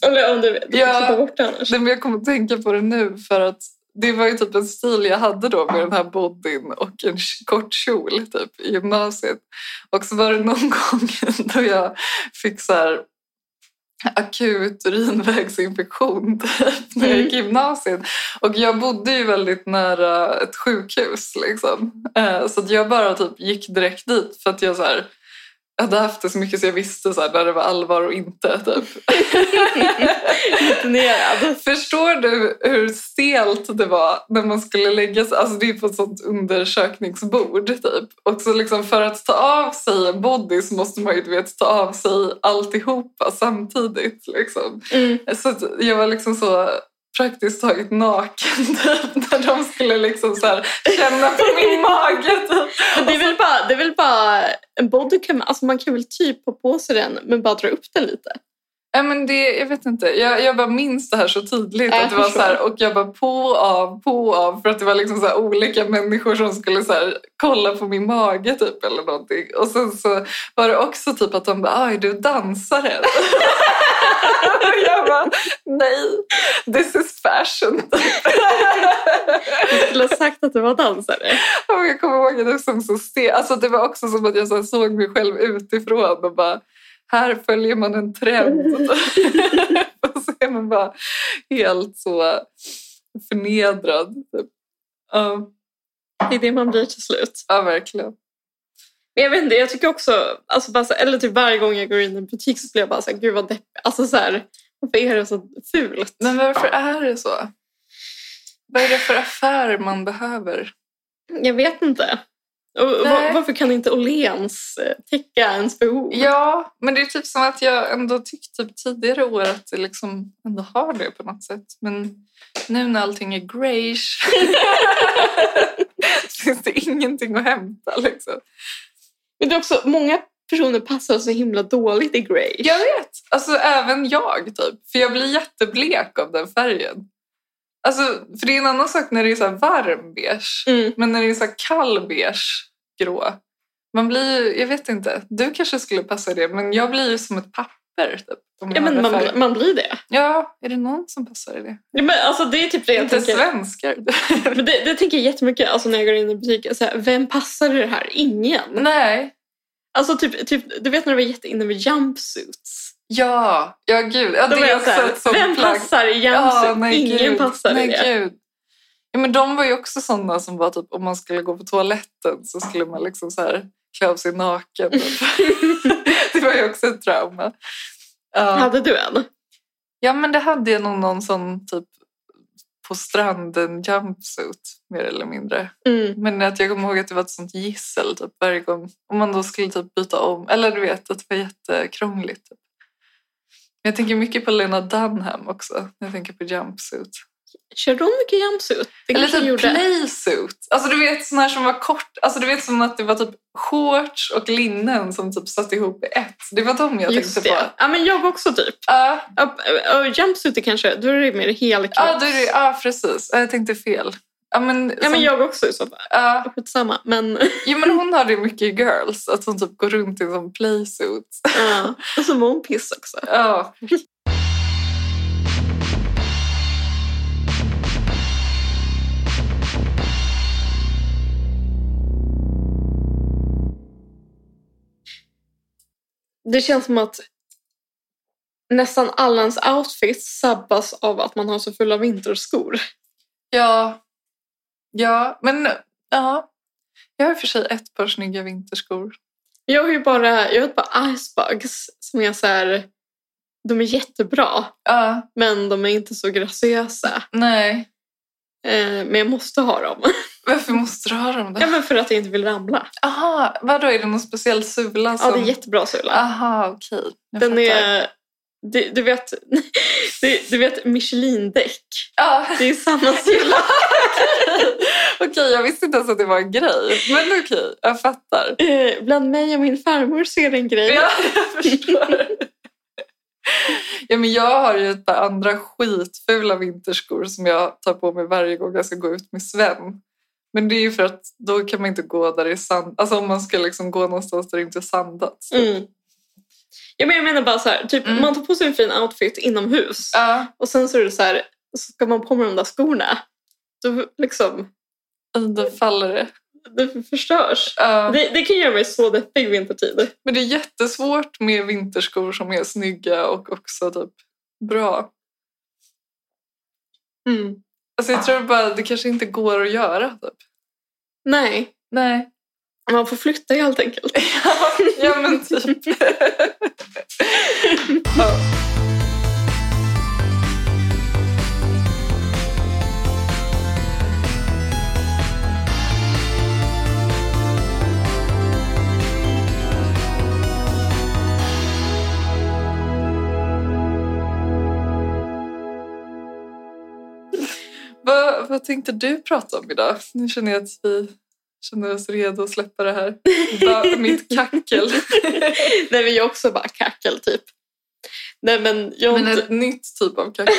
Speaker 2: Eller om du vet, du
Speaker 3: Ja.
Speaker 2: kan klippa bort det annars.
Speaker 3: Nej, men jag kommer att tänka på det nu för att det var ju typ en stil jag hade då med den här bodyn och en k- kort kjol typ, i gymnasiet. Och så var det någon gång då jag fick så här akut urinvägsinfektion typ, när jag gick i gymnasiet. Och jag bodde ju väldigt nära ett sjukhus liksom. Eh, Så att jag bara typ gick direkt dit för att jag så här, jag hade haft det så mycket så jag visste så här, när det var allvar och inte. Typ.
Speaker 2: Rutinerad.
Speaker 3: Förstår du hur stelt det var när man skulle lägga sig? Alltså det är på ett sånt undersökningsbord typ. Och så liksom för att ta av sig en body så måste man ju du vet, ta av sig alltihopa samtidigt. Liksom.
Speaker 2: Mm.
Speaker 3: Så att jag var liksom så... praktiskt taget naken typ, när de skulle liksom så här, känna på min mage. Typ.
Speaker 2: Men det, är väl bara, det är väl bara en bodycam. Alltså man kan väl typ ha på sig den men bara dra upp den lite.
Speaker 3: Ja, men det, jag vet inte, jag, jag bara minns det här så tydligt.
Speaker 2: Ja,
Speaker 3: att det var
Speaker 2: jag
Speaker 3: så här, och jag bara på och av, på och av. För att det var liksom så här, olika människor som skulle så här, kolla på min mage typ eller någonting. Och sen så var det också typ att de bara, "Ah, är du dansare? och jag bara, nej, this is fashion.
Speaker 2: Jag skulle ha sagt att du var dansare.
Speaker 3: Och jag kommer ihåg det som så stel. Alltså det var också som att jag så här såg mig själv utifrån och bara här följer man en trend. och så är man bara helt så förnedrad. typ. Ja,
Speaker 2: Det är det man blir till slut.
Speaker 3: ja verkligen.
Speaker 2: Men jag vet inte, jag tycker också, alltså bara så, eller typ varje gång jag går in i en butik så blir jag bara så här, gud vad deppig. Alltså så här, varför är det så fult?
Speaker 3: Men varför är det så? Vad är det för affär man behöver?
Speaker 2: Jag vet inte. Och, va,
Speaker 3: Nej.
Speaker 2: varför kan inte Åhléns eh, täcka ens behov?
Speaker 3: Ja, men det är typ som att jag ändå tyckt typ tidigare år att det liksom ändå har det på något sätt. Men nu när allting är grayish finns det ingenting att hämta liksom.
Speaker 2: Men det är också, många personer passar så himla dåligt i grey.
Speaker 3: Jag vet! Alltså även jag typ. För jag blir jätteblek av den färgen. Alltså, för det är en annan sak när det är så här varm beige.
Speaker 2: Mm.
Speaker 3: Men när det är så här kall beige grå. Man blir ju, jag vet inte. Du kanske skulle passa det, men jag blir ju som ett papper typ. om
Speaker 2: Ja,
Speaker 3: jag
Speaker 2: men
Speaker 3: hade
Speaker 2: man,
Speaker 3: färg.
Speaker 2: bli- man blir det.
Speaker 3: Ja, är det någon som passar i det?
Speaker 2: Ja, men alltså, det är typ det jag
Speaker 3: inte
Speaker 2: tänker.
Speaker 3: svenskar.
Speaker 2: Men det, det tänker jag jättemycket alltså, när jag går in i butiken. Så här, vem passar i det här? Ingen.
Speaker 3: Nej.
Speaker 2: Alltså, typ, typ, du vet när du var jätteinne med jumpsuits?
Speaker 3: Ja, ja gud. Ja,
Speaker 2: Då var
Speaker 3: det är
Speaker 2: jag så
Speaker 3: också
Speaker 2: här,
Speaker 3: ett sånt
Speaker 2: vem
Speaker 3: plagg.
Speaker 2: passar i jumpsuit?
Speaker 3: Ja, nej,
Speaker 2: Ingen
Speaker 3: gud.
Speaker 2: passar i
Speaker 3: nej,
Speaker 2: det.
Speaker 3: Gud. Ja, men de var ju också sådana som var typ om man skulle gå på toaletten så skulle man liksom så här klä av sig naken. typ. det var ju också ett trauma. Ja,
Speaker 2: Hade du en?
Speaker 3: ja men det hade jag nog någon sån typ på stranden jumpsuit mer eller mindre.
Speaker 2: Mm.
Speaker 3: Men att jag kommer ihåg att det var ett sånt gissel typ, varje gång. Om man då skulle typ byta om. Eller du vet, att det var jättekrångligt. Typ. Men Jag tänker mycket på Lena Dunham också. när Jag tänker på jumpsuit.
Speaker 2: Körde hon mycket jumpsuit? Det
Speaker 3: Eller
Speaker 2: kanske hon
Speaker 3: typ
Speaker 2: gjorde.
Speaker 3: playsuit. Alltså du vet sån här som var kort. Alltså du vet som att det var typ shorts och linnen som typ satt ihop i ett. Det var dem jag
Speaker 2: Just
Speaker 3: tänkte på.
Speaker 2: det. Ja, men jag också typ.
Speaker 3: Ja,
Speaker 2: Ja, ja, jumpsuit är kanske, då är det mer helkropps.
Speaker 3: ja, då är det- ja, precis. Ja, Jag tänkte fel. Ja, men,
Speaker 2: Ja, men
Speaker 3: som-
Speaker 2: jag också i så fall.
Speaker 3: ja.
Speaker 2: Skitsamma. Men,
Speaker 3: Jo, men hon har det mycket i Girls. Att hon typ går runt i en sån playsuit.
Speaker 2: ja. Och så mår hon piss också.
Speaker 3: Ja,
Speaker 2: Det känns som att nästan alla ens outfits sabbas av att man har så fulla vinterskor.
Speaker 3: Ja. Ja, men ja. Jag har i och för sig ett par snygga vinterskor.
Speaker 2: Jag har ju bara, jag har ett par icebugs som är så här, de är jättebra
Speaker 3: Ja,
Speaker 2: men de är inte så graciösa.
Speaker 3: nej.
Speaker 2: Eh, men jag måste ha dem.
Speaker 3: Varför måste du ha dem då?
Speaker 2: ja, men för att jag inte vill ramla.
Speaker 3: Aha, vadå? Är det någon speciell sula som...
Speaker 2: Ja, det är jättebra sula.
Speaker 3: Aha, okej. Alltså- Jag
Speaker 2: Den
Speaker 3: fattar.
Speaker 2: är... Du, du vet, du, du vet Michelin-däck.
Speaker 3: Ja.
Speaker 2: Det är samma sula.
Speaker 3: Okej, jag visste inte ens att det var en grej. Men okej, jag fattar.
Speaker 2: Eh, Bland mig och min farmor så är det en grej.
Speaker 3: Ja, jag förstår. Ja, men jag har ju ett par andra skitfula vinterskor som jag tar på mig varje gång jag ska gå ut med Sven. Men det är ju för att då kan man inte gå där det är sand... Alltså om man ska liksom gå någonstans där det inte är sandat.
Speaker 2: Mm. Ja, men jag menar bara så här, typ,
Speaker 3: Mm.
Speaker 2: man tar på sig en fin outfit inomhus
Speaker 3: Ja,
Speaker 2: och sen så är det så här, så ska man på med de där skorna, då liksom,
Speaker 3: alltså, då faller det.
Speaker 2: det förstörs.
Speaker 3: Ja.
Speaker 2: Det, det kan göra mig så deppig vintertid.
Speaker 3: Men det är jättesvårt med vinterskor som är snygga och också typ bra. Alltså jag tror bara det kanske inte går att göra. Typ.
Speaker 2: Nej,
Speaker 3: Nej.
Speaker 2: man får flytta helt enkelt.
Speaker 3: ja, men typ. ja. vad tänkte du prata om idag? Nu känner jag att vi känner oss redo att släppa det här. Bara mitt kackel.
Speaker 2: Nej, men jag också bara kackel typ. Nej, men jag har
Speaker 3: Men
Speaker 2: inte
Speaker 3: ett nytt typ av kackel.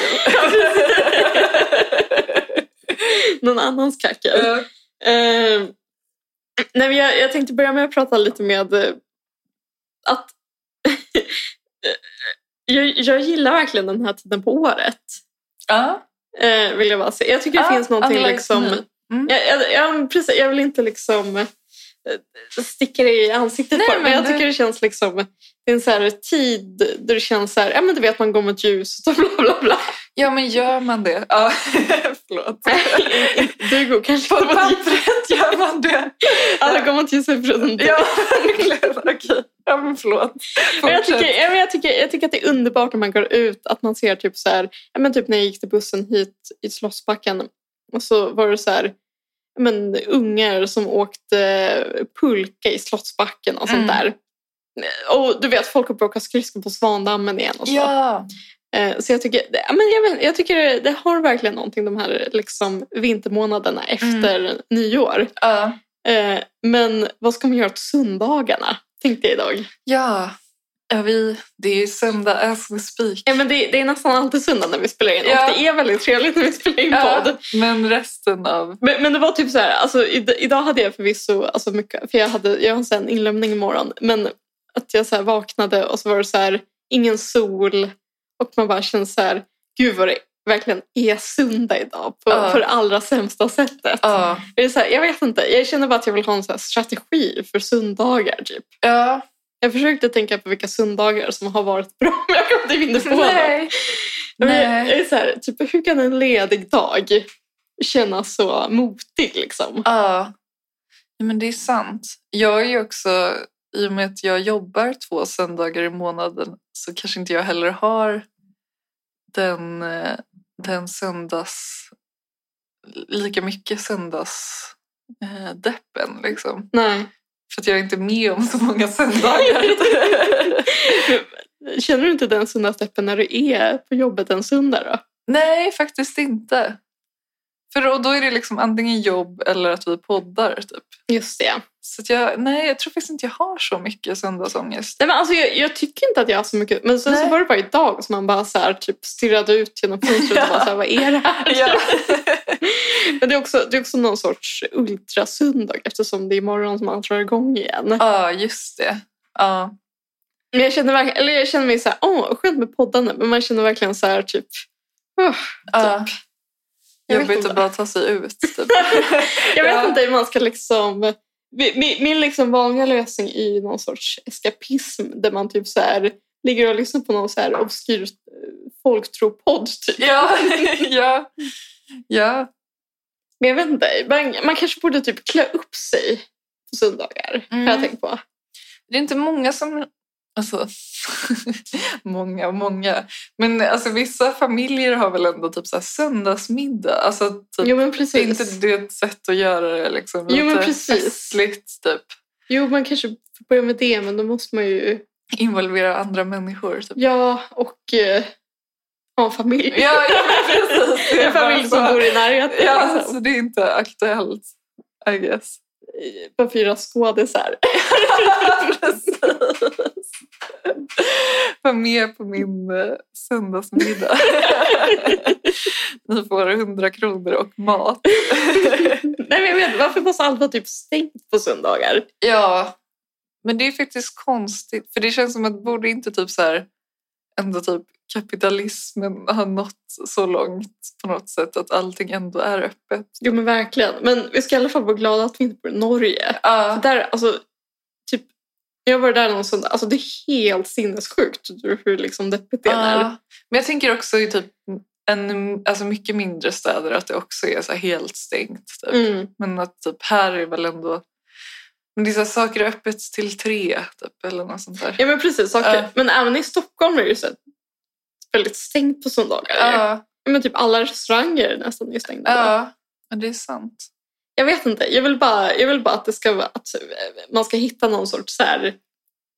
Speaker 2: någon annans kackel.
Speaker 3: Eh,
Speaker 2: Eh, nej, men jag, jag tänkte börja med att prata lite med eh, att jag, jag gillar verkligen den här tiden på året.
Speaker 3: Ja,
Speaker 2: Eh, vill jag bara säga. Jag tycker det
Speaker 3: Ah,
Speaker 2: finns någonting
Speaker 3: unlike
Speaker 2: liksom...
Speaker 3: me. Mm.
Speaker 2: Jag, jag, jag, men precis, jag vill inte liksom eh, sticka det i ansiktet
Speaker 3: Nej,
Speaker 2: på det, men
Speaker 3: men
Speaker 2: jag
Speaker 3: det-
Speaker 2: tycker det känns liksom... Det är en så här tid där det känns så här, ja men du vet man går mot ljuset och bla bla bla.
Speaker 3: ja, men gör man det? Ja, förlåt.
Speaker 2: Du går kanske
Speaker 3: På
Speaker 2: mot ljuset.
Speaker 3: pappret gör man det.
Speaker 2: Alla går mot ljuset förutom du.
Speaker 3: Ja, verkligen. Okej. Ja, men förlåt.
Speaker 2: Men jag,
Speaker 3: Fortsätt.
Speaker 2: tycker, ja, men jag, tycker, jag tycker att det är underbart när man går ut att man ser typ så här, ja, men typ när jag gick till bussen hit i Slottsbacken och så var det så här, ja, men ungar som åkte pulka i Slottsbacken och sånt
Speaker 3: Mm.
Speaker 2: där. Och du vet, folk har bråkat skridskor på Svandammen igen och så.
Speaker 3: Ja.
Speaker 2: Eh, Så jag tycker, ja, men jag, vet, jag tycker det- det har verkligen någonting de här liksom, vintermånaderna efter
Speaker 3: Mm.
Speaker 2: nyår.
Speaker 3: Ja.
Speaker 2: Eh, Men vad ska man göra åt söndagarna? Tänkte jag idag.
Speaker 3: Ja. ja vi, det är ju söndag as we speak.
Speaker 2: Ja, men det, det är nästan alltid söndag när vi spelar in.
Speaker 3: Ja.
Speaker 2: Och det är väldigt trevligt när vi spelar in
Speaker 3: Ja,
Speaker 2: podd.
Speaker 3: men resten av...
Speaker 2: Men, men det var typ så här, alltså, id- idag hade jag förvisso alltså, mycket, för jag hade, jag har så här en inlämning imorgon, men att jag så här vaknade och så var det så här, ingen sol och man bara känner så här, gud vad det verkligen är söndag idag på,
Speaker 3: Ja.
Speaker 2: på det allra sämsta sättet.
Speaker 3: Ja.
Speaker 2: Det är så här, jag vet inte, jag känner bara att jag vill ha en så här strategi för söndagar typ.
Speaker 3: ja.
Speaker 2: Jag försökte tänka på vilka söndagar som har varit bra, men jag kom typ inte på något.
Speaker 3: Nej.
Speaker 2: Jag
Speaker 3: Nej.
Speaker 2: är- jag är så här, typ, hur kan en ledig dag kännas så motig? Liksom?
Speaker 3: Ja. ja, men det är sant. Jag är ju också, i och med att jag jobbar två söndagar i månaden så kanske inte jag heller har den, eh, den söndags... lika mycket söndagsdeppen liksom.
Speaker 2: Nej.
Speaker 3: För att jag är inte med om så många söndagar.
Speaker 2: Känner du inte den söndagsdeppen när du är på jobbet en söndag? Då?
Speaker 3: Nej, faktiskt inte. För då, då är det liksom antingen jobb eller att vi poddar typ.
Speaker 2: Just det.
Speaker 3: Så att jag, nej, jag tror faktiskt inte jag har så mycket söndagsångest.
Speaker 2: Nej, men alltså, jag, jag tycker inte att jag har så mycket, men sen så
Speaker 3: Nej.
Speaker 2: var det bara idag som man bara så här, typ, stirrade ut genom fönstret och bara så här, vad är det här?
Speaker 3: Ja.
Speaker 2: men det är, också, det är också någon sorts ultrasöndag eftersom det är imorgon som man drar igång igen.
Speaker 3: Ja, just det. Ja.
Speaker 2: Men jag känner, verkligen, eller jag känner mig så här, åh, skönt med poddarna, men man känner verkligen så här typ, "Åh,
Speaker 3: ja.
Speaker 2: Jag vet
Speaker 3: Jobbigt
Speaker 2: inte.
Speaker 3: att bara ta sig ut. Typ.
Speaker 2: Jag vet
Speaker 3: Ja.
Speaker 2: inte hur man ska liksom... mi- mi- Min liksom vanliga lösning är ju någon sorts eskapism där man typ så här ligger och lyssnar på någon så här obskyr eh, folktropodd. Typ.
Speaker 3: ja, ja, ja.
Speaker 2: Men jag vet inte, man, man kanske borde typ klä upp sig på söndagar.
Speaker 3: Mm.
Speaker 2: Har jag tänkt på.
Speaker 3: Det är inte många som... Alltså, många och många. Men alltså, vissa familjer har väl ändå typ så här söndagsmiddag. Alltså, typ,
Speaker 2: Jo men
Speaker 3: det är
Speaker 2: precis.
Speaker 3: inte det ett sätt att göra det liksom,
Speaker 2: Jo, men
Speaker 3: lite
Speaker 2: precis.
Speaker 3: festligt? Typ.
Speaker 2: Jo man kanske får börja med det men då måste man ju...
Speaker 3: Involvera andra människor. Typ.
Speaker 2: Ja och eh, ha en familj.
Speaker 3: Ja, ja men precis. Det är
Speaker 2: en familj
Speaker 3: bara
Speaker 2: som
Speaker 3: så-
Speaker 2: bor i närheten.
Speaker 3: Ja,
Speaker 2: liksom.
Speaker 3: så det är inte aktuellt, I guess.
Speaker 2: eh, På fyra skådisar.
Speaker 3: Precis. Var med på min eh, söndagsmiddag. Ni får 100 kronor och mat.
Speaker 2: Nej, men jag vet, varför måste allt vara typ stängt på söndagar?
Speaker 3: Ja, men det är faktiskt konstigt. För det känns som att borde inte typ så här, ändå typ kapitalismen har nått så långt på något sätt att allting ändå är öppet.
Speaker 2: Jo men verkligen. Men vi ska i alla fall vara glada att vi inte bor i Norge.
Speaker 3: Ja,
Speaker 2: För Där, alltså, typ, jag var där någon söndag, alltså det är helt sinnessjukt hur- hur liksom deppigt det är.
Speaker 3: Ja, Men jag tänker också i typ en, alltså mycket mindre städer att det också är så här helt stängt. Typ.
Speaker 2: Mm.
Speaker 3: Men att typ här är väl ändå... Men det är så här, saker är öppet till tre typ, eller något sånt där.
Speaker 2: Ja men precis, saker.
Speaker 3: Ja.
Speaker 2: men även i Stockholm är det ju så här väldigt stängt på söndagar.
Speaker 3: Ja,
Speaker 2: Ja, Men typ alla restauranger nästan är stängda.
Speaker 3: ja. ja det är sant.
Speaker 2: Jag vet inte, jag vill bara, jag vill bara att, det ska, vara- att eh, man ska hitta någon sorts så här,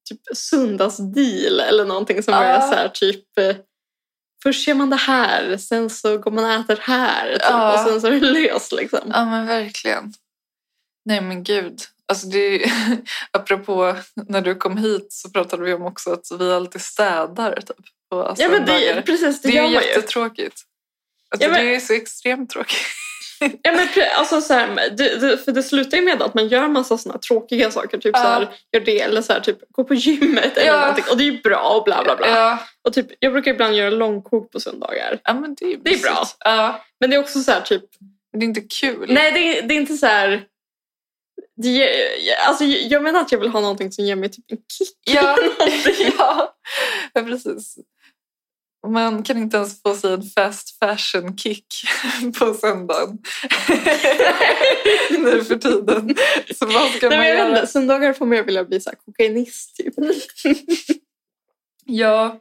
Speaker 2: typ söndagsdeal eller någonting som
Speaker 3: Ja.
Speaker 2: är så här, typ eh, Först gör man det här, sen så går man och äter här. Typ,
Speaker 3: Ja.
Speaker 2: Och sen så är det löst liksom.
Speaker 3: Ja, men verkligen. Nej, men gud. Alltså det är ju, apropå när du kom hit så pratade vi om också att vi alltid städar typ, på
Speaker 2: Ja, men det,
Speaker 3: söndagar.
Speaker 2: precis, det,
Speaker 3: det
Speaker 2: gör
Speaker 3: är ju
Speaker 2: man ju.
Speaker 3: jättetråkigt. Alltså,
Speaker 2: Ja, men-
Speaker 3: Det är så extremt tråkigt.
Speaker 2: Ja, men pre- alltså, så här, det, det, för det slutar ju med att man gör massa såna tråkiga saker. Typ
Speaker 3: Ja.
Speaker 2: så här, gör det eller så här, typ, gå på gymmet eller
Speaker 3: Ja.
Speaker 2: någonting. Och det är ju bra och bla bla bla.
Speaker 3: Ja,
Speaker 2: Och typ, jag brukar ibland göra långkok på söndagar.
Speaker 3: ja, men det är, ju
Speaker 2: Det är bra.
Speaker 3: mysigt. Ja,
Speaker 2: Men det är också så här typ,
Speaker 3: men det är inte kul.
Speaker 2: nej det, är- det är inte så här... Det, ger- alltså, jag menar att jag vill ha någonting som ger mig typ en kick.
Speaker 3: Ja, ja. ja precis. Man kan inte ens få sig en fast fashion-kick på söndagen. nu för tiden. Så vad ska
Speaker 2: Nej,
Speaker 3: man
Speaker 2: men jag vet
Speaker 3: göra?
Speaker 2: inte, söndagar får mig att vilja bli så här, kokainist typ.
Speaker 3: Ja.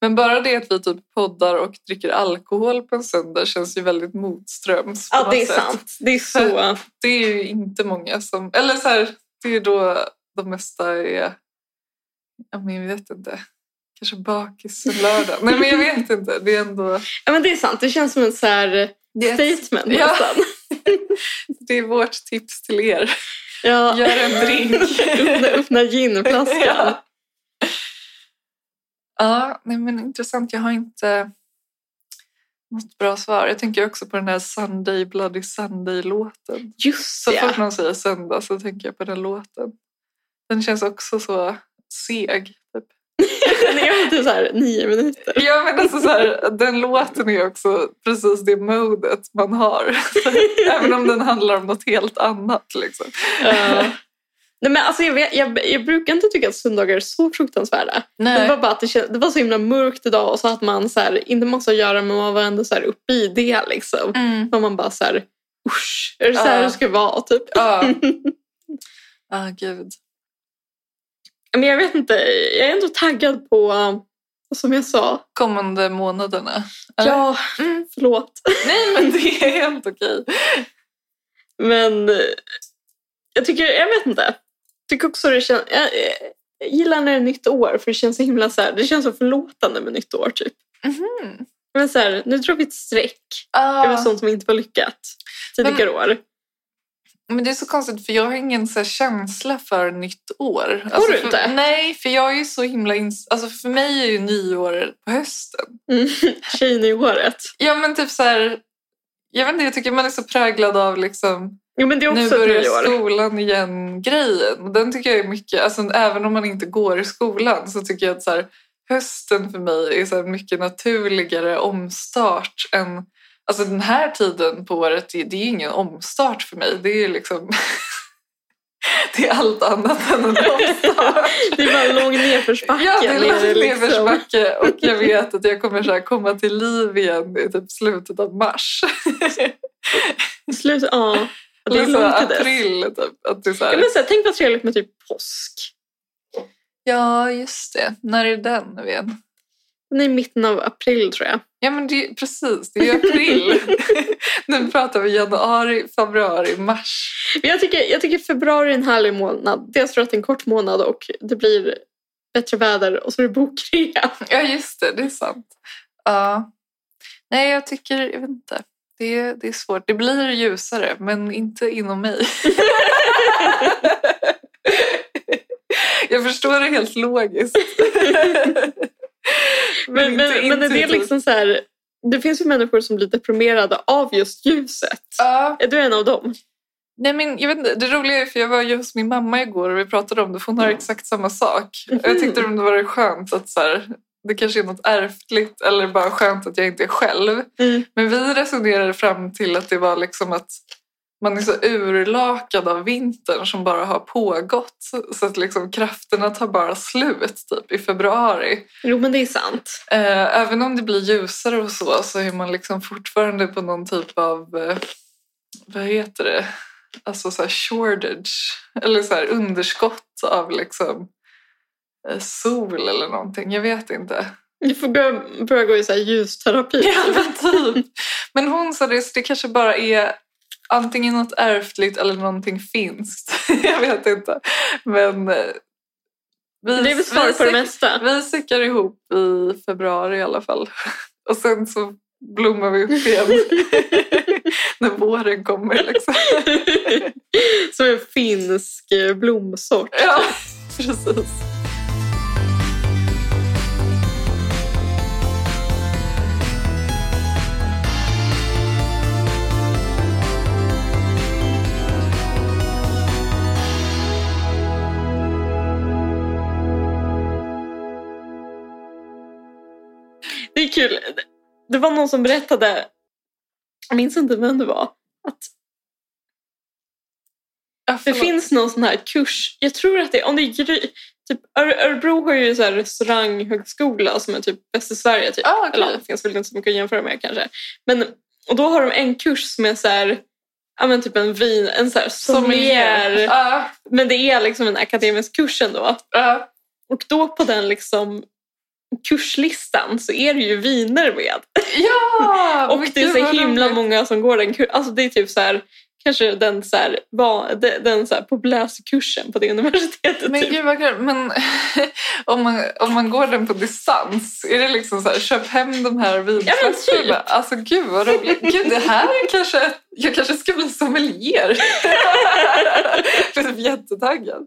Speaker 3: Men bara det att vi typ poddar och dricker alkohol på en söndag känns ju väldigt motströms. på
Speaker 2: Ja,
Speaker 3: något
Speaker 2: det är
Speaker 3: sätt.
Speaker 2: sant. Det är så...
Speaker 3: Det är ju inte många som... Eller så här, det är då de mesta är... Ja, men jag vet inte. Kanske bakis en lördag. Nej, men jag vet inte. Det är ändå...
Speaker 2: Ja, men det är sant. Det känns som en så här
Speaker 3: Det är,
Speaker 2: statement
Speaker 3: Ja.
Speaker 2: nästan.
Speaker 3: det är vårt tips till er.
Speaker 2: Ja.
Speaker 3: Gör en drink.
Speaker 2: öppna, öppna ginflaskan.
Speaker 3: Ja. Ja, nej, men intressant. Jag har inte något bra svar. Jag tänker också på den här Sunday Bloody Sunday-låten.
Speaker 2: Just
Speaker 3: Så
Speaker 2: ja.
Speaker 3: fort någon säger söndag så tänker jag på den låten. Den känns också så seg. Typ.
Speaker 2: Den är typ så här nio minuter.
Speaker 3: Ja, men alltså så här, den låten är också precis det modet man har. Även om den handlar om något helt annat. Liksom.
Speaker 2: Ja. Nej, men alltså jag, vet, jag, jag brukar inte tycka att söndagar är så fruktansvärda. Det var bara att det, kän- det var så himla mörkt idag och så att man så här, inte massa att göra men man var ändå så här uppe i det. Liksom.
Speaker 3: Mm.
Speaker 2: Och man bara så här, usch, är det så här
Speaker 3: Ja.
Speaker 2: det ska vara? Typ.
Speaker 3: Ja. Ah, gud.
Speaker 2: Men jag vet inte, jag är ändå taggad på, eh, som jag sa,
Speaker 3: Kommande månaderna. eller?
Speaker 2: ja,
Speaker 3: Mm.
Speaker 2: förlåt.
Speaker 3: Nej, men det är helt okej.
Speaker 2: Men eh, jag tycker, jag vet inte. Jag tycker också det känns, jag, eh, jag gillar när det är nytt år för det känns så himla så här, det känns så förlåtande med nytt år typ.
Speaker 3: Mhm.
Speaker 2: Men så här, nu drar vi ett streck över
Speaker 3: Ah.
Speaker 2: sånt som inte var lyckat tidigare år.
Speaker 3: Men det är så konstigt för jag har ingen så här känsla för nytt år. Har
Speaker 2: du inte?
Speaker 3: För, nej, för jag är ju så himla... Ins- alltså för mig är ju nyår på hösten.
Speaker 2: Mm. Tjejen i året.
Speaker 3: Ja men typ så här, jag vet inte, jag tycker man är så präglad av liksom
Speaker 2: Jo men det är
Speaker 3: nu
Speaker 2: också ett
Speaker 3: börjar
Speaker 2: nyår.
Speaker 3: skolan igen grejen. Och Den tycker jag är mycket, alltså även om man inte går i skolan så tycker jag att så här, hösten för mig är så här mycket naturligare omstart än Alltså den här tiden på året, det det är ju ingen omstart för mig. Det är ju liksom... det är allt annat än en omstart.
Speaker 2: Det är bara en lång nedförsbacke.
Speaker 3: Ja, det är
Speaker 2: ner,
Speaker 3: lite
Speaker 2: liksom.
Speaker 3: nedförsbacke och jag vet att jag kommer så här komma till liv igen i typ slutet av mars.
Speaker 2: Slut, ja. Det är
Speaker 3: Eller så
Speaker 2: långt till
Speaker 3: här
Speaker 2: dess.
Speaker 3: april. Typ, att det är så
Speaker 2: Ja,
Speaker 3: här.
Speaker 2: men så här, tänk vad trevligt med typ påsk.
Speaker 3: Ja, just det. När är den nu igen?
Speaker 2: Den är i mitten av april tror jag.
Speaker 3: Ja, men det, är- precis. Det är ju april. nu pratar vi januari, februari, mars.
Speaker 2: Men jag, tycker, jag tycker februari är en härlig månad. Dels för att det är en kort månad och det blir bättre väder och så är det bokrea.
Speaker 3: Ja, just det. Det är sant. Ja. Nej, jag tycker... Jag vet inte. Det, det är svårt. Det blir ljusare, men inte inom mig. jag förstår det helt logiskt.
Speaker 2: Men,
Speaker 3: inte
Speaker 2: men, men är det är
Speaker 3: intuitivt.
Speaker 2: liksom så här, det finns ju människor som blir deprimerade av just ljuset.
Speaker 3: Ja.
Speaker 2: Är du en av dem?
Speaker 3: Nej, men jag vet inte, det roliga är för jag var ju hos min mamma igår och vi pratade om det, för hon har exakt samma sak. Och jag tyckte det var skönt att så här, det kanske är något ärftligt eller bara skönt att jag inte är själv.
Speaker 2: Mm.
Speaker 3: Men vi resonerade fram till att det var liksom att man är så urlakad av vintern som bara har pågått så att liksom krafterna tar bara slut typ i februari.
Speaker 2: Jo, men det är sant.
Speaker 3: Eh, även om det blir ljusare och så, så är man liksom fortfarande på någon typ av, eh, vad heter det, alltså så här shortage, eller så här underskott av liksom eh, sol eller någonting. Jag vet inte.
Speaker 2: Du får gå, börja gå i så här ljusterapi.
Speaker 3: Ja, men typ. Men hon sa det, så det kanske bara är antingen något ärftligt eller någonting finskt. Jag vet inte. Men eh, Vi,
Speaker 2: Det är väl svar på det mesta.
Speaker 3: Vi sickar ihop i februari i alla fall. Och sen så blommar vi upp igen när våren kommer. Liksom.
Speaker 2: Som en finsk eh, blomsort.
Speaker 3: Ja, precis.
Speaker 2: Det är kul. Det var någon som berättade, jag minns inte vem det var, att
Speaker 3: Ja,
Speaker 2: Det
Speaker 3: förlåt.
Speaker 2: finns någon sån här kurs. Jag tror att det om det är Gry, typ Öre- Örebro har ju så här restauranghögskola som är typ bäst i Sverige. Typ.
Speaker 3: Ah, okej.
Speaker 2: Eller det finns väl inte så mycket att jämföra med kanske. Men, och då har de en kurs som är så här, ja men typ en vin, en så här sommelier.
Speaker 3: Ja,
Speaker 2: Men det är liksom en akademisk kurs ändå.
Speaker 3: ja.
Speaker 2: Och då på den liksom kurslistan så är det ju viner med.
Speaker 3: ja
Speaker 2: Och
Speaker 3: men
Speaker 2: det är
Speaker 3: gud,
Speaker 2: så
Speaker 3: vad
Speaker 2: himla
Speaker 3: roligt.
Speaker 2: många som går den kursen. Alltså det är typ så här, kanske den, så här, va, de- den så här populäraste kursen på det universitetet.
Speaker 3: Men
Speaker 2: typ.
Speaker 3: gud vad kul. Men om man, om man går den på distans, är det liksom så här, köp hem de här vinflaskorna?
Speaker 2: typ.
Speaker 3: Alltså gud vad roligt. Gud, det här är kanske, jag kanske ska bli sommelier. jag är typ jättetaggad.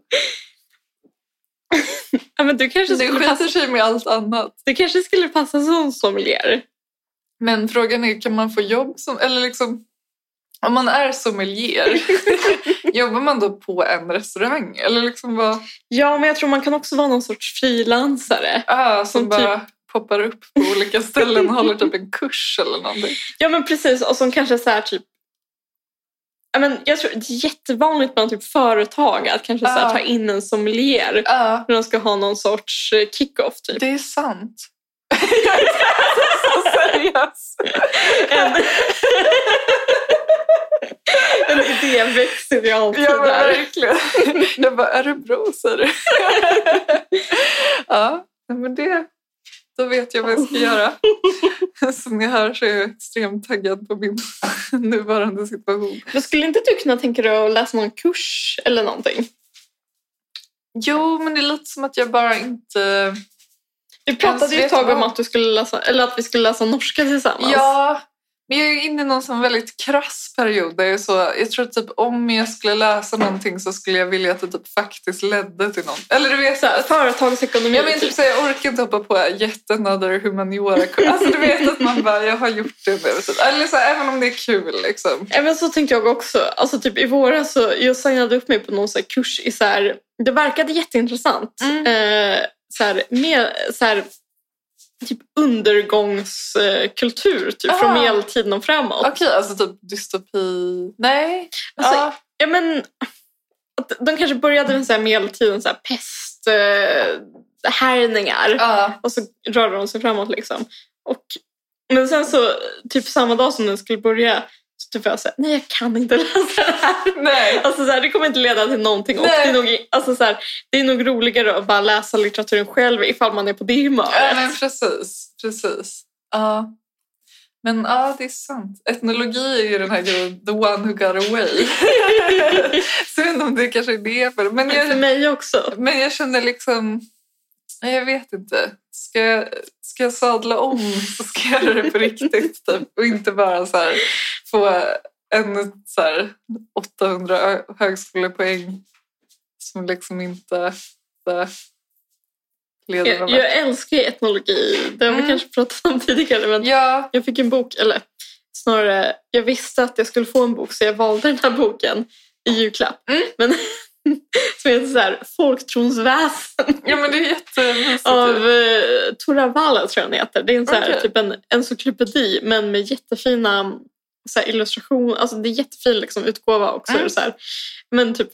Speaker 2: ja, men du, kanske
Speaker 3: Det
Speaker 2: skulle
Speaker 3: skiter
Speaker 2: passa,
Speaker 3: sig med allt annat.
Speaker 2: du kanske skulle passa som sommelier.
Speaker 3: Men frågan är, kan man få jobb som, eller liksom, om man är sommelier, jobbar man då på en restaurang? Eller liksom vad,
Speaker 2: Ja, men jag tror man kan också vara någon sorts frilansare.
Speaker 3: ah, som
Speaker 2: Som
Speaker 3: bara poppar upp på olika ställen och håller typ en kurs eller någonting?
Speaker 2: Ja, men precis. Och som kanske så här typ... Ja, men jag tror det är jättevanligt bland typ företag att kanske så
Speaker 3: Ja.
Speaker 2: här, ta in en sommelier
Speaker 3: Ja.
Speaker 2: när de ska ha någon sorts eh, kick-off. Typ.
Speaker 3: Det är sant. Jag är så seriös.
Speaker 2: en, en idé växer i alltid
Speaker 3: Ja, men
Speaker 2: där.
Speaker 3: verkligen. Jag bara, Örebro säger du. Ja, nej, men det... Då vet jag vad jag ska göra. Som ni hör så är jag extremt taggad på min nuvarande situation.
Speaker 2: Men skulle inte du kunna tänka dig att läsa någon kurs eller någonting?
Speaker 3: Jo, men det är lite som att jag bara inte...
Speaker 2: Vi pratade ju
Speaker 3: vet
Speaker 2: ett tag om
Speaker 3: vad.
Speaker 2: att, du skulle läsa, eller att vi skulle läsa norska tillsammans.
Speaker 3: Ja, men jag är inne i någon sån väldigt krass period. Där jag, är så, jag tror typ om jag skulle läsa någonting så skulle jag vilja att det typ faktiskt ledde till någon. Eller du vet,
Speaker 2: Så här, företagsekonomi.
Speaker 3: Jag menar typ
Speaker 2: typ.
Speaker 3: så jag orkar inte hoppa på yet another humaniora Alltså du vet att man bara, jag har gjort det nu. typ. Eller så här, även om det är kul liksom.
Speaker 2: Även så tänkte jag också. Alltså typ i våras så jag signade upp mig på någon så här kurs i så här, det verkade jätteintressant.
Speaker 3: Mm.
Speaker 2: Eh, så här, med så här, typ undergångskultur typ, från
Speaker 3: Ah.
Speaker 2: medeltiden och framåt.
Speaker 3: Okej, alltså typ dystopi. Nej.
Speaker 2: Alltså,
Speaker 3: ja.
Speaker 2: Ja, men att de kanske började med så här medeltiden, så här pest, eh, härningar.
Speaker 3: ja.
Speaker 2: Och så rörde de sig framåt liksom. Och, men sen så, typ samma dag som den skulle börja, så typ var jag såhär, nej jag kan inte läsa det här.
Speaker 3: Nej.
Speaker 2: Alltså så här, det kommer inte leda till någonting. Och det,
Speaker 3: Nej.
Speaker 2: är nog, alltså, så här, det är nog roligare att bara läsa litteraturen själv ifall man är på det
Speaker 3: Ja,
Speaker 2: humöret.
Speaker 3: men precis. Precis. Ja. Men ja, det är sant. Etnologi är ju den här grejen, the one who got away. så jag vet inte om det kanske är det. För, men jag,
Speaker 2: För mig också.
Speaker 3: Men jag känner liksom... Nej, jag vet inte. Ska jag, ska jag sadla om så ska jag göra det på riktigt. Typ. Och inte bara så här, få en så här, 800 ö- högskolepoäng som liksom inte så, leder
Speaker 2: Jag,
Speaker 3: någon
Speaker 2: jag
Speaker 3: vart.
Speaker 2: älskar ju etnologi. Det har vi
Speaker 3: Mm.
Speaker 2: kanske pratat om tidigare. Men
Speaker 3: Ja,
Speaker 2: Jag fick en bok, eller snarare, jag visste att jag skulle få en bok så jag valde den här boken i julklapp.
Speaker 3: Mm.
Speaker 2: Men som heter så här, Folktronsväsen
Speaker 3: ja, men det är jättemysigt.
Speaker 2: av
Speaker 3: ju.
Speaker 2: eh, Torravallo tror jag den heter. Det är en, så här,
Speaker 3: Okej.
Speaker 2: typ en encyklopedi men med jättefina så här, illustrationer. Alltså det är jättefin liksom, utgåva också.
Speaker 3: Mm.
Speaker 2: Så här. Men typ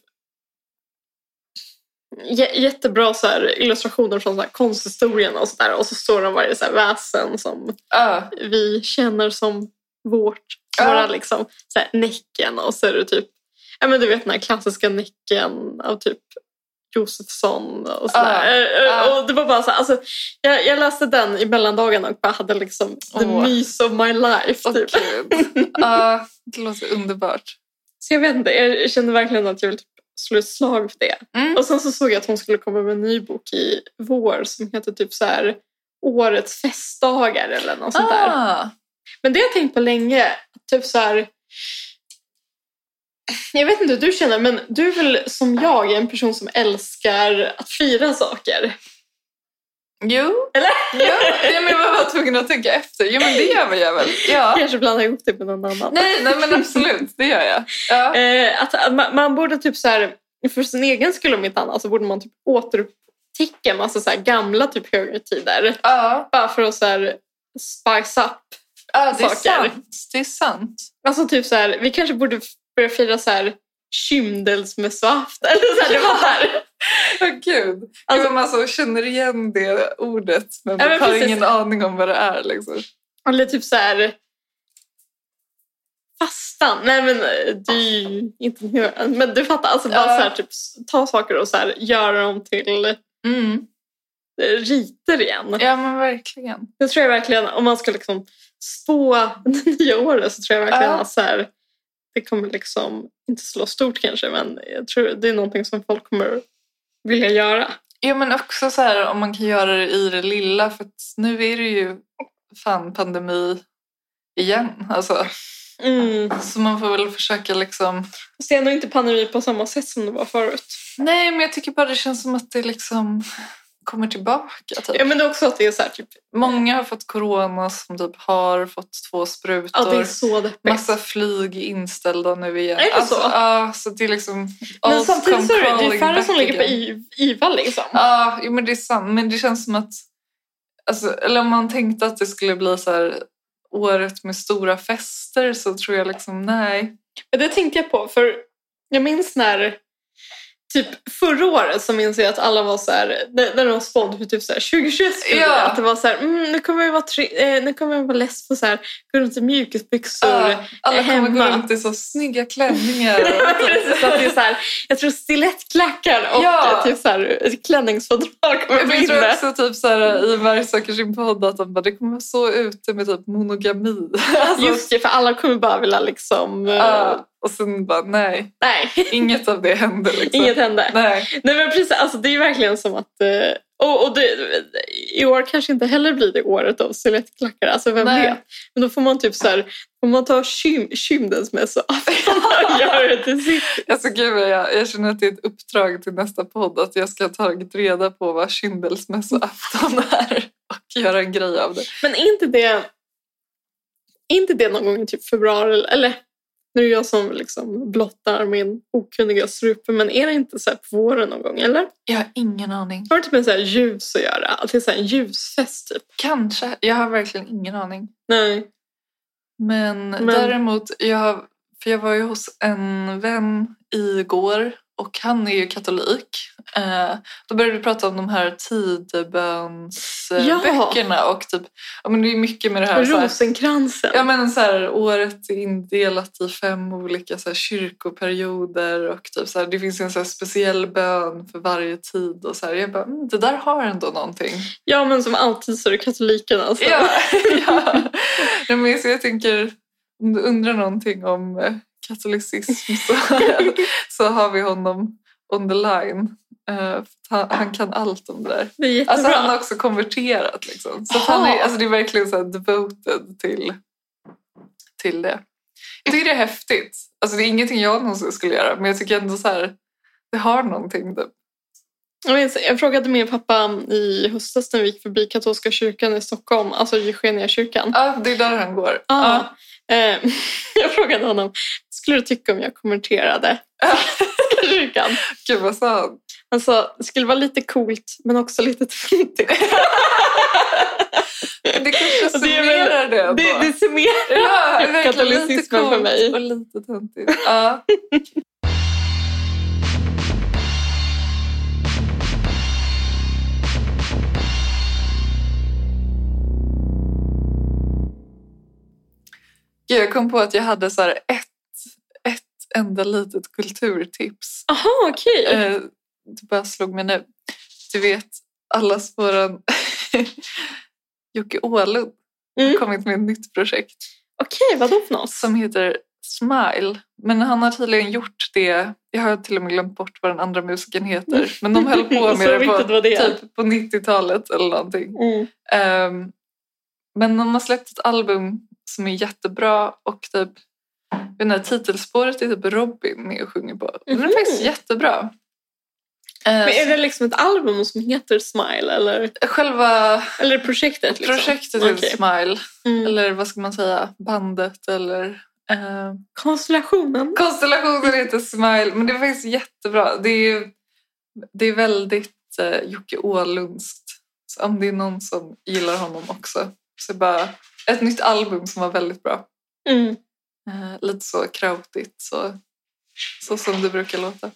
Speaker 2: jä- jättebra så här, illustrationer från så här, konsthistorien och sådär. Och så står det om varje så här, väsen som
Speaker 3: Ja,
Speaker 2: vi känner som vårt,
Speaker 3: Ja.
Speaker 2: våra liksom, så här, Näcken och så är det typ, ja men du vet den här klassiska Näcken av typ Josefsson och sådär. Eh, eh,
Speaker 3: Ja.
Speaker 2: Och det var bara så här, alltså, jag, jag läste den i mellandagen och bara hade liksom the
Speaker 3: Åh.
Speaker 2: mys of my life.
Speaker 3: och
Speaker 2: Typ.
Speaker 3: gud. Ja, Ah, det låter underbart.
Speaker 2: Så jag vet inte, jag kände verkligen att jag vill typ slå ett slag för det.
Speaker 3: Mm.
Speaker 2: Och sen så såg jag att hon skulle komma med en ny bok i vår som heter typ så här Årets festdagar eller något sånt där.
Speaker 3: Ah,
Speaker 2: Men det har jag tänkt på länge. att Typ så här, jag vet inte hur du känner, men du är väl som jag en person som älskar att fira saker?
Speaker 3: jo.
Speaker 2: Eller?
Speaker 3: Jo, ja, men jag var bara tvungen att tänka efter. Jo, men det gör jag väl. Ja.
Speaker 2: Kanske blandar ihop det med någon annan.
Speaker 3: Nej, nej, men absolut. Det gör jag. Ja.
Speaker 2: Eh, att, att man, man borde typ så här, för sin egen skull om inte annat, så borde man typ återupptäcka en massa så här gamla typ högtider.
Speaker 3: Ja,
Speaker 2: Bara för att så här spice up.
Speaker 3: ja det är
Speaker 2: Saker.
Speaker 3: sant. Det är sant.
Speaker 2: Alltså typ så här, vi kanske borde f- börja fira så här kyndelsmössoafton. Eller så här, det var så här.
Speaker 3: Åh gud.
Speaker 2: Alltså-
Speaker 3: Alltså, man så känner igen det ordet men
Speaker 2: Ja,
Speaker 3: man
Speaker 2: men
Speaker 3: har
Speaker 2: precis.
Speaker 3: ingen aning om vad det är. Liksom.
Speaker 2: Eller typ så här... Fastan. Nej men eh, det är ju inte nöden. Men du fattar. Alltså bara
Speaker 3: Ja.
Speaker 2: så här, typ, s- ta saker och så här, göra dem till eh,
Speaker 3: Mm.
Speaker 2: riter igen.
Speaker 3: Ja men verkligen.
Speaker 2: Det tror jag verkligen, om man ska liksom spå det nya året så tror jag verkligen
Speaker 3: Ja.
Speaker 2: att så här, det kommer liksom inte slå stort kanske men jag tror det är någonting som folk kommer vilja göra.
Speaker 3: Ja men också så här om man kan göra det i det lilla för att nu är det ju fan pandemi igen. Alltså,
Speaker 2: Mm.
Speaker 3: så man får väl försöka liksom...
Speaker 2: Fast det är ändå inte pandemi på samma sätt som det var förut.
Speaker 3: Nej men jag tycker bara det känns som att det liksom kommer tillbaka. Typ.
Speaker 2: Ja, men det är också att det är så här, typ,
Speaker 3: Många har fått corona som typ har fått två sprutor.
Speaker 2: att det är så deppigt.
Speaker 3: Massa flyg inställda nu igen.
Speaker 2: Är det
Speaker 3: alltså,
Speaker 2: så?
Speaker 3: Ja, så det är liksom...
Speaker 2: Men
Speaker 3: allt
Speaker 2: samtidigt
Speaker 3: kom
Speaker 2: så är det, det är
Speaker 3: crawling
Speaker 2: färre
Speaker 3: back
Speaker 2: som ligger på
Speaker 3: again.
Speaker 2: I- IVA liksom.
Speaker 3: Ja, jo, men det är sant. Men det känns som att... Alltså, eller om man tänkte att det skulle bli så här året med stora fester så tror jag liksom nej.
Speaker 2: Men Det tänkte jag på, för jag minns när... Typ förra året så minns jag att alla var så här, när när de spådde hur typ så här 2021 skulle
Speaker 3: Ja.
Speaker 2: bli, att det var så här, mm, nu kommer jag vara, tre, eh, nu kommer jag vara less på så här, gå runt i mjukisbyxor.
Speaker 3: Ja, alla kommer gå
Speaker 2: hemma.
Speaker 3: runt i så snygga klänningar.
Speaker 2: Precis, att det är så här, jag tror stilettklackar och
Speaker 3: Ja.
Speaker 2: eh, typ så här, ett klänningsfodral kommer
Speaker 3: Men
Speaker 2: bli
Speaker 3: jag tror
Speaker 2: inne.
Speaker 3: också typ så här, i Varg söker sin podd att de bara, det kommer vara så ute med typ monogami. Alltså,
Speaker 2: Just det, för alla kommer bara vilja liksom... eh,
Speaker 3: ja, och sen bara nej,
Speaker 2: Nej,
Speaker 3: inget av det händer. Liksom.
Speaker 2: inget hände.
Speaker 3: Nej.
Speaker 2: Nej men precis, alltså det är verkligen som att... eh, Och, och det, I år kanske inte heller blir det året av stilettklackar, alltså vem
Speaker 3: Nej.
Speaker 2: vet. Men då får man typ så här, får man ta kym, kymdensmässa och göra det till sitt.
Speaker 3: Alltså gud, jag, jag känner att det är ett uppdrag till nästa podd att jag ska ha tagit reda på vad kyndelsmässoafton är och göra en grej av det.
Speaker 2: Men är inte det, är inte det någon gång i typ februari, eller nu är det jag som liksom blottar min okunniga strupe, men är det inte så här på våren någon gång? Eller?
Speaker 3: Jag har ingen aning.
Speaker 2: Har det typ med så här ljus att göra? Att det är så här en ljusfest typ?
Speaker 3: Kanske. Jag har verkligen ingen aning.
Speaker 2: Nej.
Speaker 3: Men,
Speaker 2: Men-
Speaker 3: däremot, jag, har- för jag var ju hos en vän igår och han är ju katolik. Eh, då började vi prata om de här
Speaker 2: Ja.
Speaker 3: tidebönsböckerna och typ, ja, men det är mycket med det här.
Speaker 2: Och
Speaker 3: så här-
Speaker 2: rosenkransen.
Speaker 3: Ja men så här, året är indelat i fem olika så här, kyrkoperioder och typ, så här, det finns en så här, speciell bön för varje tid. Och så här, jag bara, mm, det där har ändå någonting.
Speaker 2: Ja, men som alltid så är det katolikerna. Alltså.
Speaker 3: Ja, ja. Nej, men, så jag tänker, om du undrar någonting om eh, katolicism så, så har vi honom on the line. Eh, han, han kan allt om det där.
Speaker 2: Det är jättebra.
Speaker 3: Alltså, han har också konverterat. Liksom. Så att han är,
Speaker 2: Jaha.
Speaker 3: alltså, det är verkligen så här devoted till, till det. Jag tycker det är häftigt. Alltså, det är ingenting jag någonsin skulle göra, men jag tycker ändå så här, det har någonting. Typ.
Speaker 2: jag, minns, jag frågade min pappa i höstas när vi gick förbi katolska kyrkan i Stockholm, alltså Eugeniakyrkan.
Speaker 3: Ja, det är där han går.
Speaker 2: Ah.
Speaker 3: Ja.
Speaker 2: Eh, jag frågade honom, vad skulle du tycka om jag konverterade till kyrkan?
Speaker 3: Gud, vad sa han?
Speaker 2: Han sa, det skulle vara lite coolt men också lite töntigt.
Speaker 3: Det kanske
Speaker 2: Och det är väl-
Speaker 3: summerar det.
Speaker 2: Det,
Speaker 3: ändå.
Speaker 2: det ser mer
Speaker 3: ja, verkligen
Speaker 2: katolicismen
Speaker 3: lite coolt
Speaker 2: för mig.
Speaker 3: Och lite töntigt. Ja. Gud, Jag kom på att jag hade så här ett, ett enda litet kulturtips.
Speaker 2: Aha, okej.
Speaker 3: Eh, det bara slog mig nu. Du vet, allas våran Jocke Åhlund har
Speaker 2: Mm.
Speaker 3: kommit med ett nytt projekt
Speaker 2: Okej, vadå för något?
Speaker 3: som heter Smile. Men han har tydligen gjort det. Jag har till och med glömt bort vad den andra musiken heter. Men de höll på
Speaker 2: Så
Speaker 3: med det
Speaker 2: viktigt
Speaker 3: på,
Speaker 2: var det.
Speaker 3: typ på 90-talet eller någonting.
Speaker 2: Mm.
Speaker 3: Ehm, men de har släppt ett album som är jättebra och typ jag vet inte, titelspåret är typ Robin med och sjunger på. Den är
Speaker 2: Mhm.
Speaker 3: faktiskt jättebra. Ehm,
Speaker 2: Men är det liksom ett album som heter Smile eller,
Speaker 3: Själva
Speaker 2: eller projektet? Liksom?
Speaker 3: projektet heter
Speaker 2: Okej.
Speaker 3: Smile,
Speaker 2: Mm.
Speaker 3: eller vad ska man säga, bandet eller ehm,
Speaker 2: Konstellationen?
Speaker 3: Konstellationen heter Smile, men det är faktiskt jättebra. Det är, ju, det är väldigt eh, Jocke Åhlundskt. Så om det är någon som gillar honom också. Så bara ett nytt album som var väldigt bra.
Speaker 2: Mm.
Speaker 3: Eh, lite så krautigt, så, så som det brukar låta.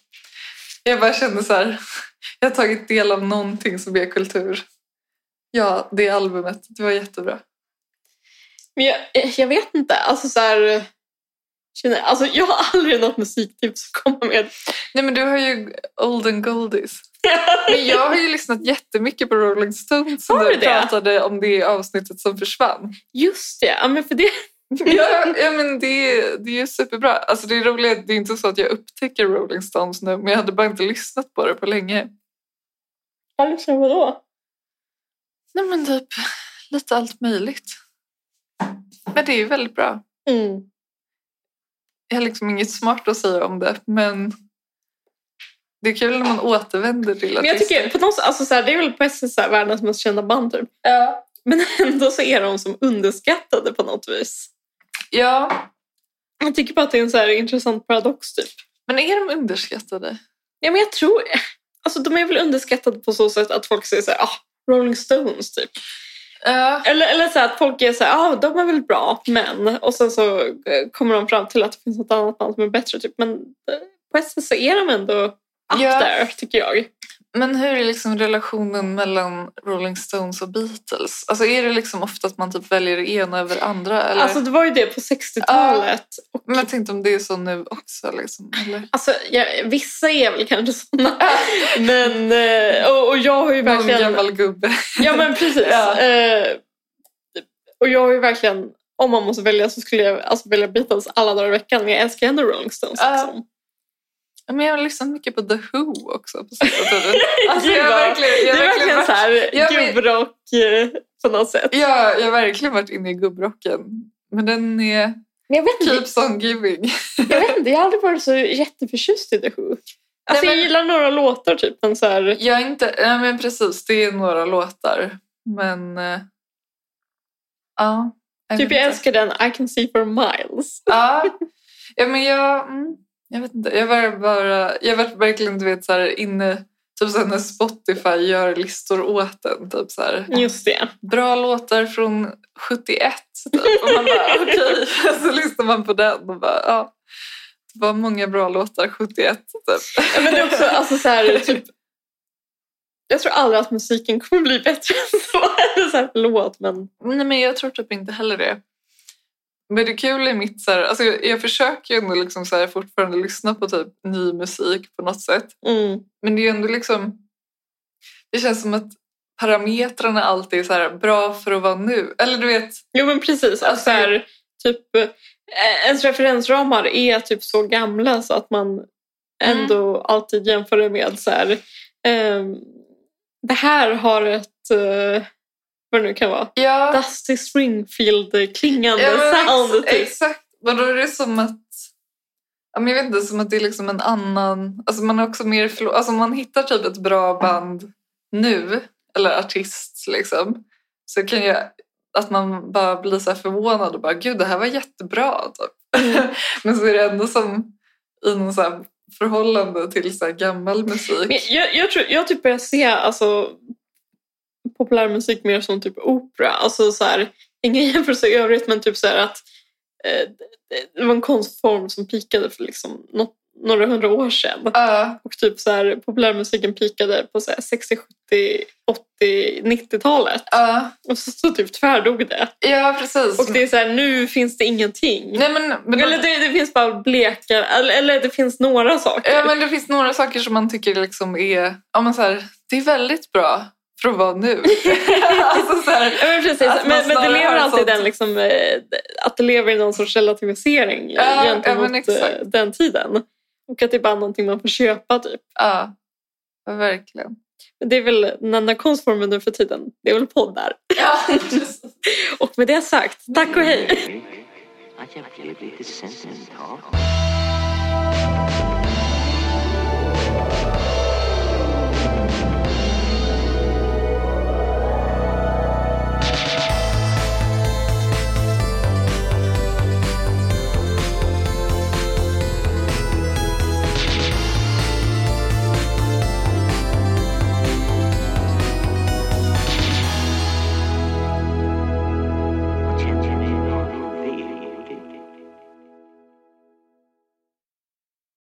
Speaker 3: Jag bara kände så här, jag har tagit del av någonting som är kultur. Ja, det albumet, det var jättebra.
Speaker 2: Men jag, jag vet inte. Alltså så här, känner, alltså, jag har aldrig något musiktips att komma med.
Speaker 3: Nej men du har ju Olden Goldies. Men jag har ju lyssnat jättemycket på Rolling Stones sen
Speaker 2: Har du
Speaker 3: du
Speaker 2: det?
Speaker 3: pratade om det avsnittet som försvann.
Speaker 2: Just det, ja, men för det...
Speaker 3: ja, ja, men det, det är ju superbra. Alltså det är roligt, det är inte så att jag upptäcker Rolling Stones nu men jag hade bara inte lyssnat på det på länge.
Speaker 2: Alltså vadå?
Speaker 3: Nej men typ lite allt möjligt. Men det är ju väldigt bra.
Speaker 2: Mm.
Speaker 3: Jag har liksom inget smart att säga om det men det är kul när man återvänder till
Speaker 2: Men jag tycker på något sätt, alltså, så här, det är väl på ett sätt så här, världens mest kända band typ.
Speaker 3: Ja.
Speaker 2: Men ändå så är de som underskattade på något vis.
Speaker 3: ja,
Speaker 2: Jag tycker bara att det är en så här intressant paradox typ.
Speaker 3: men är de underskattade?
Speaker 2: Ja, men jag tror... Alltså, de är väl underskattade på så sätt att folk säger så här, ah, Rolling Stones typ.
Speaker 3: Ja.
Speaker 2: Eller, eller så här, att folk är så här, ah, de är väl bra, men... Och sen så eh, kommer de fram till att det finns något annat band som är bättre typ. Men eh, på ett sätt så är de ändå up
Speaker 3: Ja.
Speaker 2: there, tycker jag.
Speaker 3: Men hur är liksom relationen mellan Rolling Stones och Beatles? Alltså är det liksom ofta att man typ väljer det ena över det andra? Eller?
Speaker 2: Alltså, det var ju det på 60-talet. Och,
Speaker 3: men jag tänkte om det är så nu också. Liksom, eller?
Speaker 2: Alltså, ja, vissa är väl kanske såna. Men, eh, och, och jag har ju
Speaker 3: Någon
Speaker 2: verkligen...
Speaker 3: gammal gubbe.
Speaker 2: Ja men precis.
Speaker 3: Ja.
Speaker 2: Eh, och jag har ju verkligen, om man måste välja så skulle jag alltså, välja Beatles alla dagar i veckan. Men jag älskar ändå Rolling Stones.
Speaker 3: Ja.
Speaker 2: Liksom.
Speaker 3: Men jag har lyssnat mycket på The Who också på sista tiden. Alltså,
Speaker 2: Gud,
Speaker 3: jag har
Speaker 2: vad-
Speaker 3: verkligen,
Speaker 2: Det
Speaker 3: jag
Speaker 2: är
Speaker 3: har verkligen
Speaker 2: verkligen så här
Speaker 3: varit, Ja, men-
Speaker 2: gubbrock eh, på något sätt.
Speaker 3: ja, jag har verkligen varit inne i gubbrocken. Men den är
Speaker 2: Men jag, vet
Speaker 3: keeps
Speaker 2: inte,
Speaker 3: on giving.
Speaker 2: jag vet inte, jag har aldrig varit så jätteförtjust i The Who. Alltså,
Speaker 3: men-
Speaker 2: Jag gillar några låtar typ, men så här,
Speaker 3: Jag är inte, ja, men precis, det är några låtar. Men eh, ja. vet
Speaker 2: typ jag
Speaker 3: inte.
Speaker 2: älskar den I can see for miles.
Speaker 3: Ja, ja men jag... Mm, jag vet inte. Jag var bara... Jag var verkligen, du vet, så här inne... Typ så här när Spotify gör listor åt en. Typ så här,
Speaker 2: Just det.
Speaker 3: bra låtar från 71. Typ. Och man bara, okej. Så lyssnar man på den och bara, ja. Det var många bra låtar 71. Typ.
Speaker 2: Ja, Men det är också, alltså så här, typ, jag tror aldrig att musiken kommer bli bättre än så. Eller så här, förlåt, men...
Speaker 3: Nej, men jag tror typ inte heller det. Men det kul är mitt så här, alltså jag, jag försöker ju ändå liksom så här fortfarande lyssna på typ ny musik på något sätt.
Speaker 2: Mm.
Speaker 3: Men det är ju ändå liksom... Det känns som att parametrarna alltid är så här bra för att vara nu. Eller du vet,
Speaker 2: Jo men precis. Alltså,
Speaker 3: Alltså,
Speaker 2: så här, typ, eh, ens referensramar är typ så gamla så att
Speaker 3: Mm.
Speaker 2: man ändå alltid jämför det med så här, ehm, det här har ett, eh, vad det nu kan vara,
Speaker 3: ja,
Speaker 2: Dusty Springfield-klingande
Speaker 3: ja, men
Speaker 2: sound.
Speaker 3: ex,
Speaker 2: Typ.
Speaker 3: exakt. Men då är det som att... Ja, men jag vet inte, som att det är liksom en annan... Alltså man är också mer... förlo- Alltså om man hittar typ ett bra band nu, eller artist liksom, så kan jag... Att man bara blir så här förvånad och bara gud det här var jättebra. Typ.
Speaker 2: Mm.
Speaker 3: Men så är det ändå som i någon så här förhållande till så här gammal musik.
Speaker 2: Men jag, jag, tror, jag typ börjar se alltså, populärmusik mer som typ opera. Alltså, så här, inga jämförelser i övrigt, men typ så här att eh, det- det var en konstform som pikade för liksom, nå- några hundra år sedan.
Speaker 3: Ja,
Speaker 2: Och typ så här, populärmusiken pikade på så här, 60, 70, 80, 90-talet.
Speaker 3: ja,
Speaker 2: Och så, så typ tvärdog det.
Speaker 3: ja precis.
Speaker 2: Och det är så här, nu finns det ingenting.
Speaker 3: Nej, men, men,
Speaker 2: Eller det, det finns bara bleka, eller, eller det finns några saker.
Speaker 3: ja, men det finns några saker som man tycker liksom är... Ja, men så här, det är väldigt bra för att vara nu. alltså, så här,
Speaker 2: Ja, men precis.
Speaker 3: Att man
Speaker 2: men, men det
Speaker 3: snarare
Speaker 2: lever
Speaker 3: har
Speaker 2: alltid
Speaker 3: sånt-
Speaker 2: den liksom, eh, att det lever i någon sorts relativisering
Speaker 3: Ja, ja, men
Speaker 2: gentemot eh,
Speaker 3: exakt.
Speaker 2: den tiden. Och att det är bara någonting man får köpa typ.
Speaker 3: ja, verkligen.
Speaker 2: Men Det är väl den enda konstformen nu för tiden. Det är väl poddar.
Speaker 3: Ja,
Speaker 2: Och med det sagt, tack och hej!
Speaker 1: I can't believe this sentence.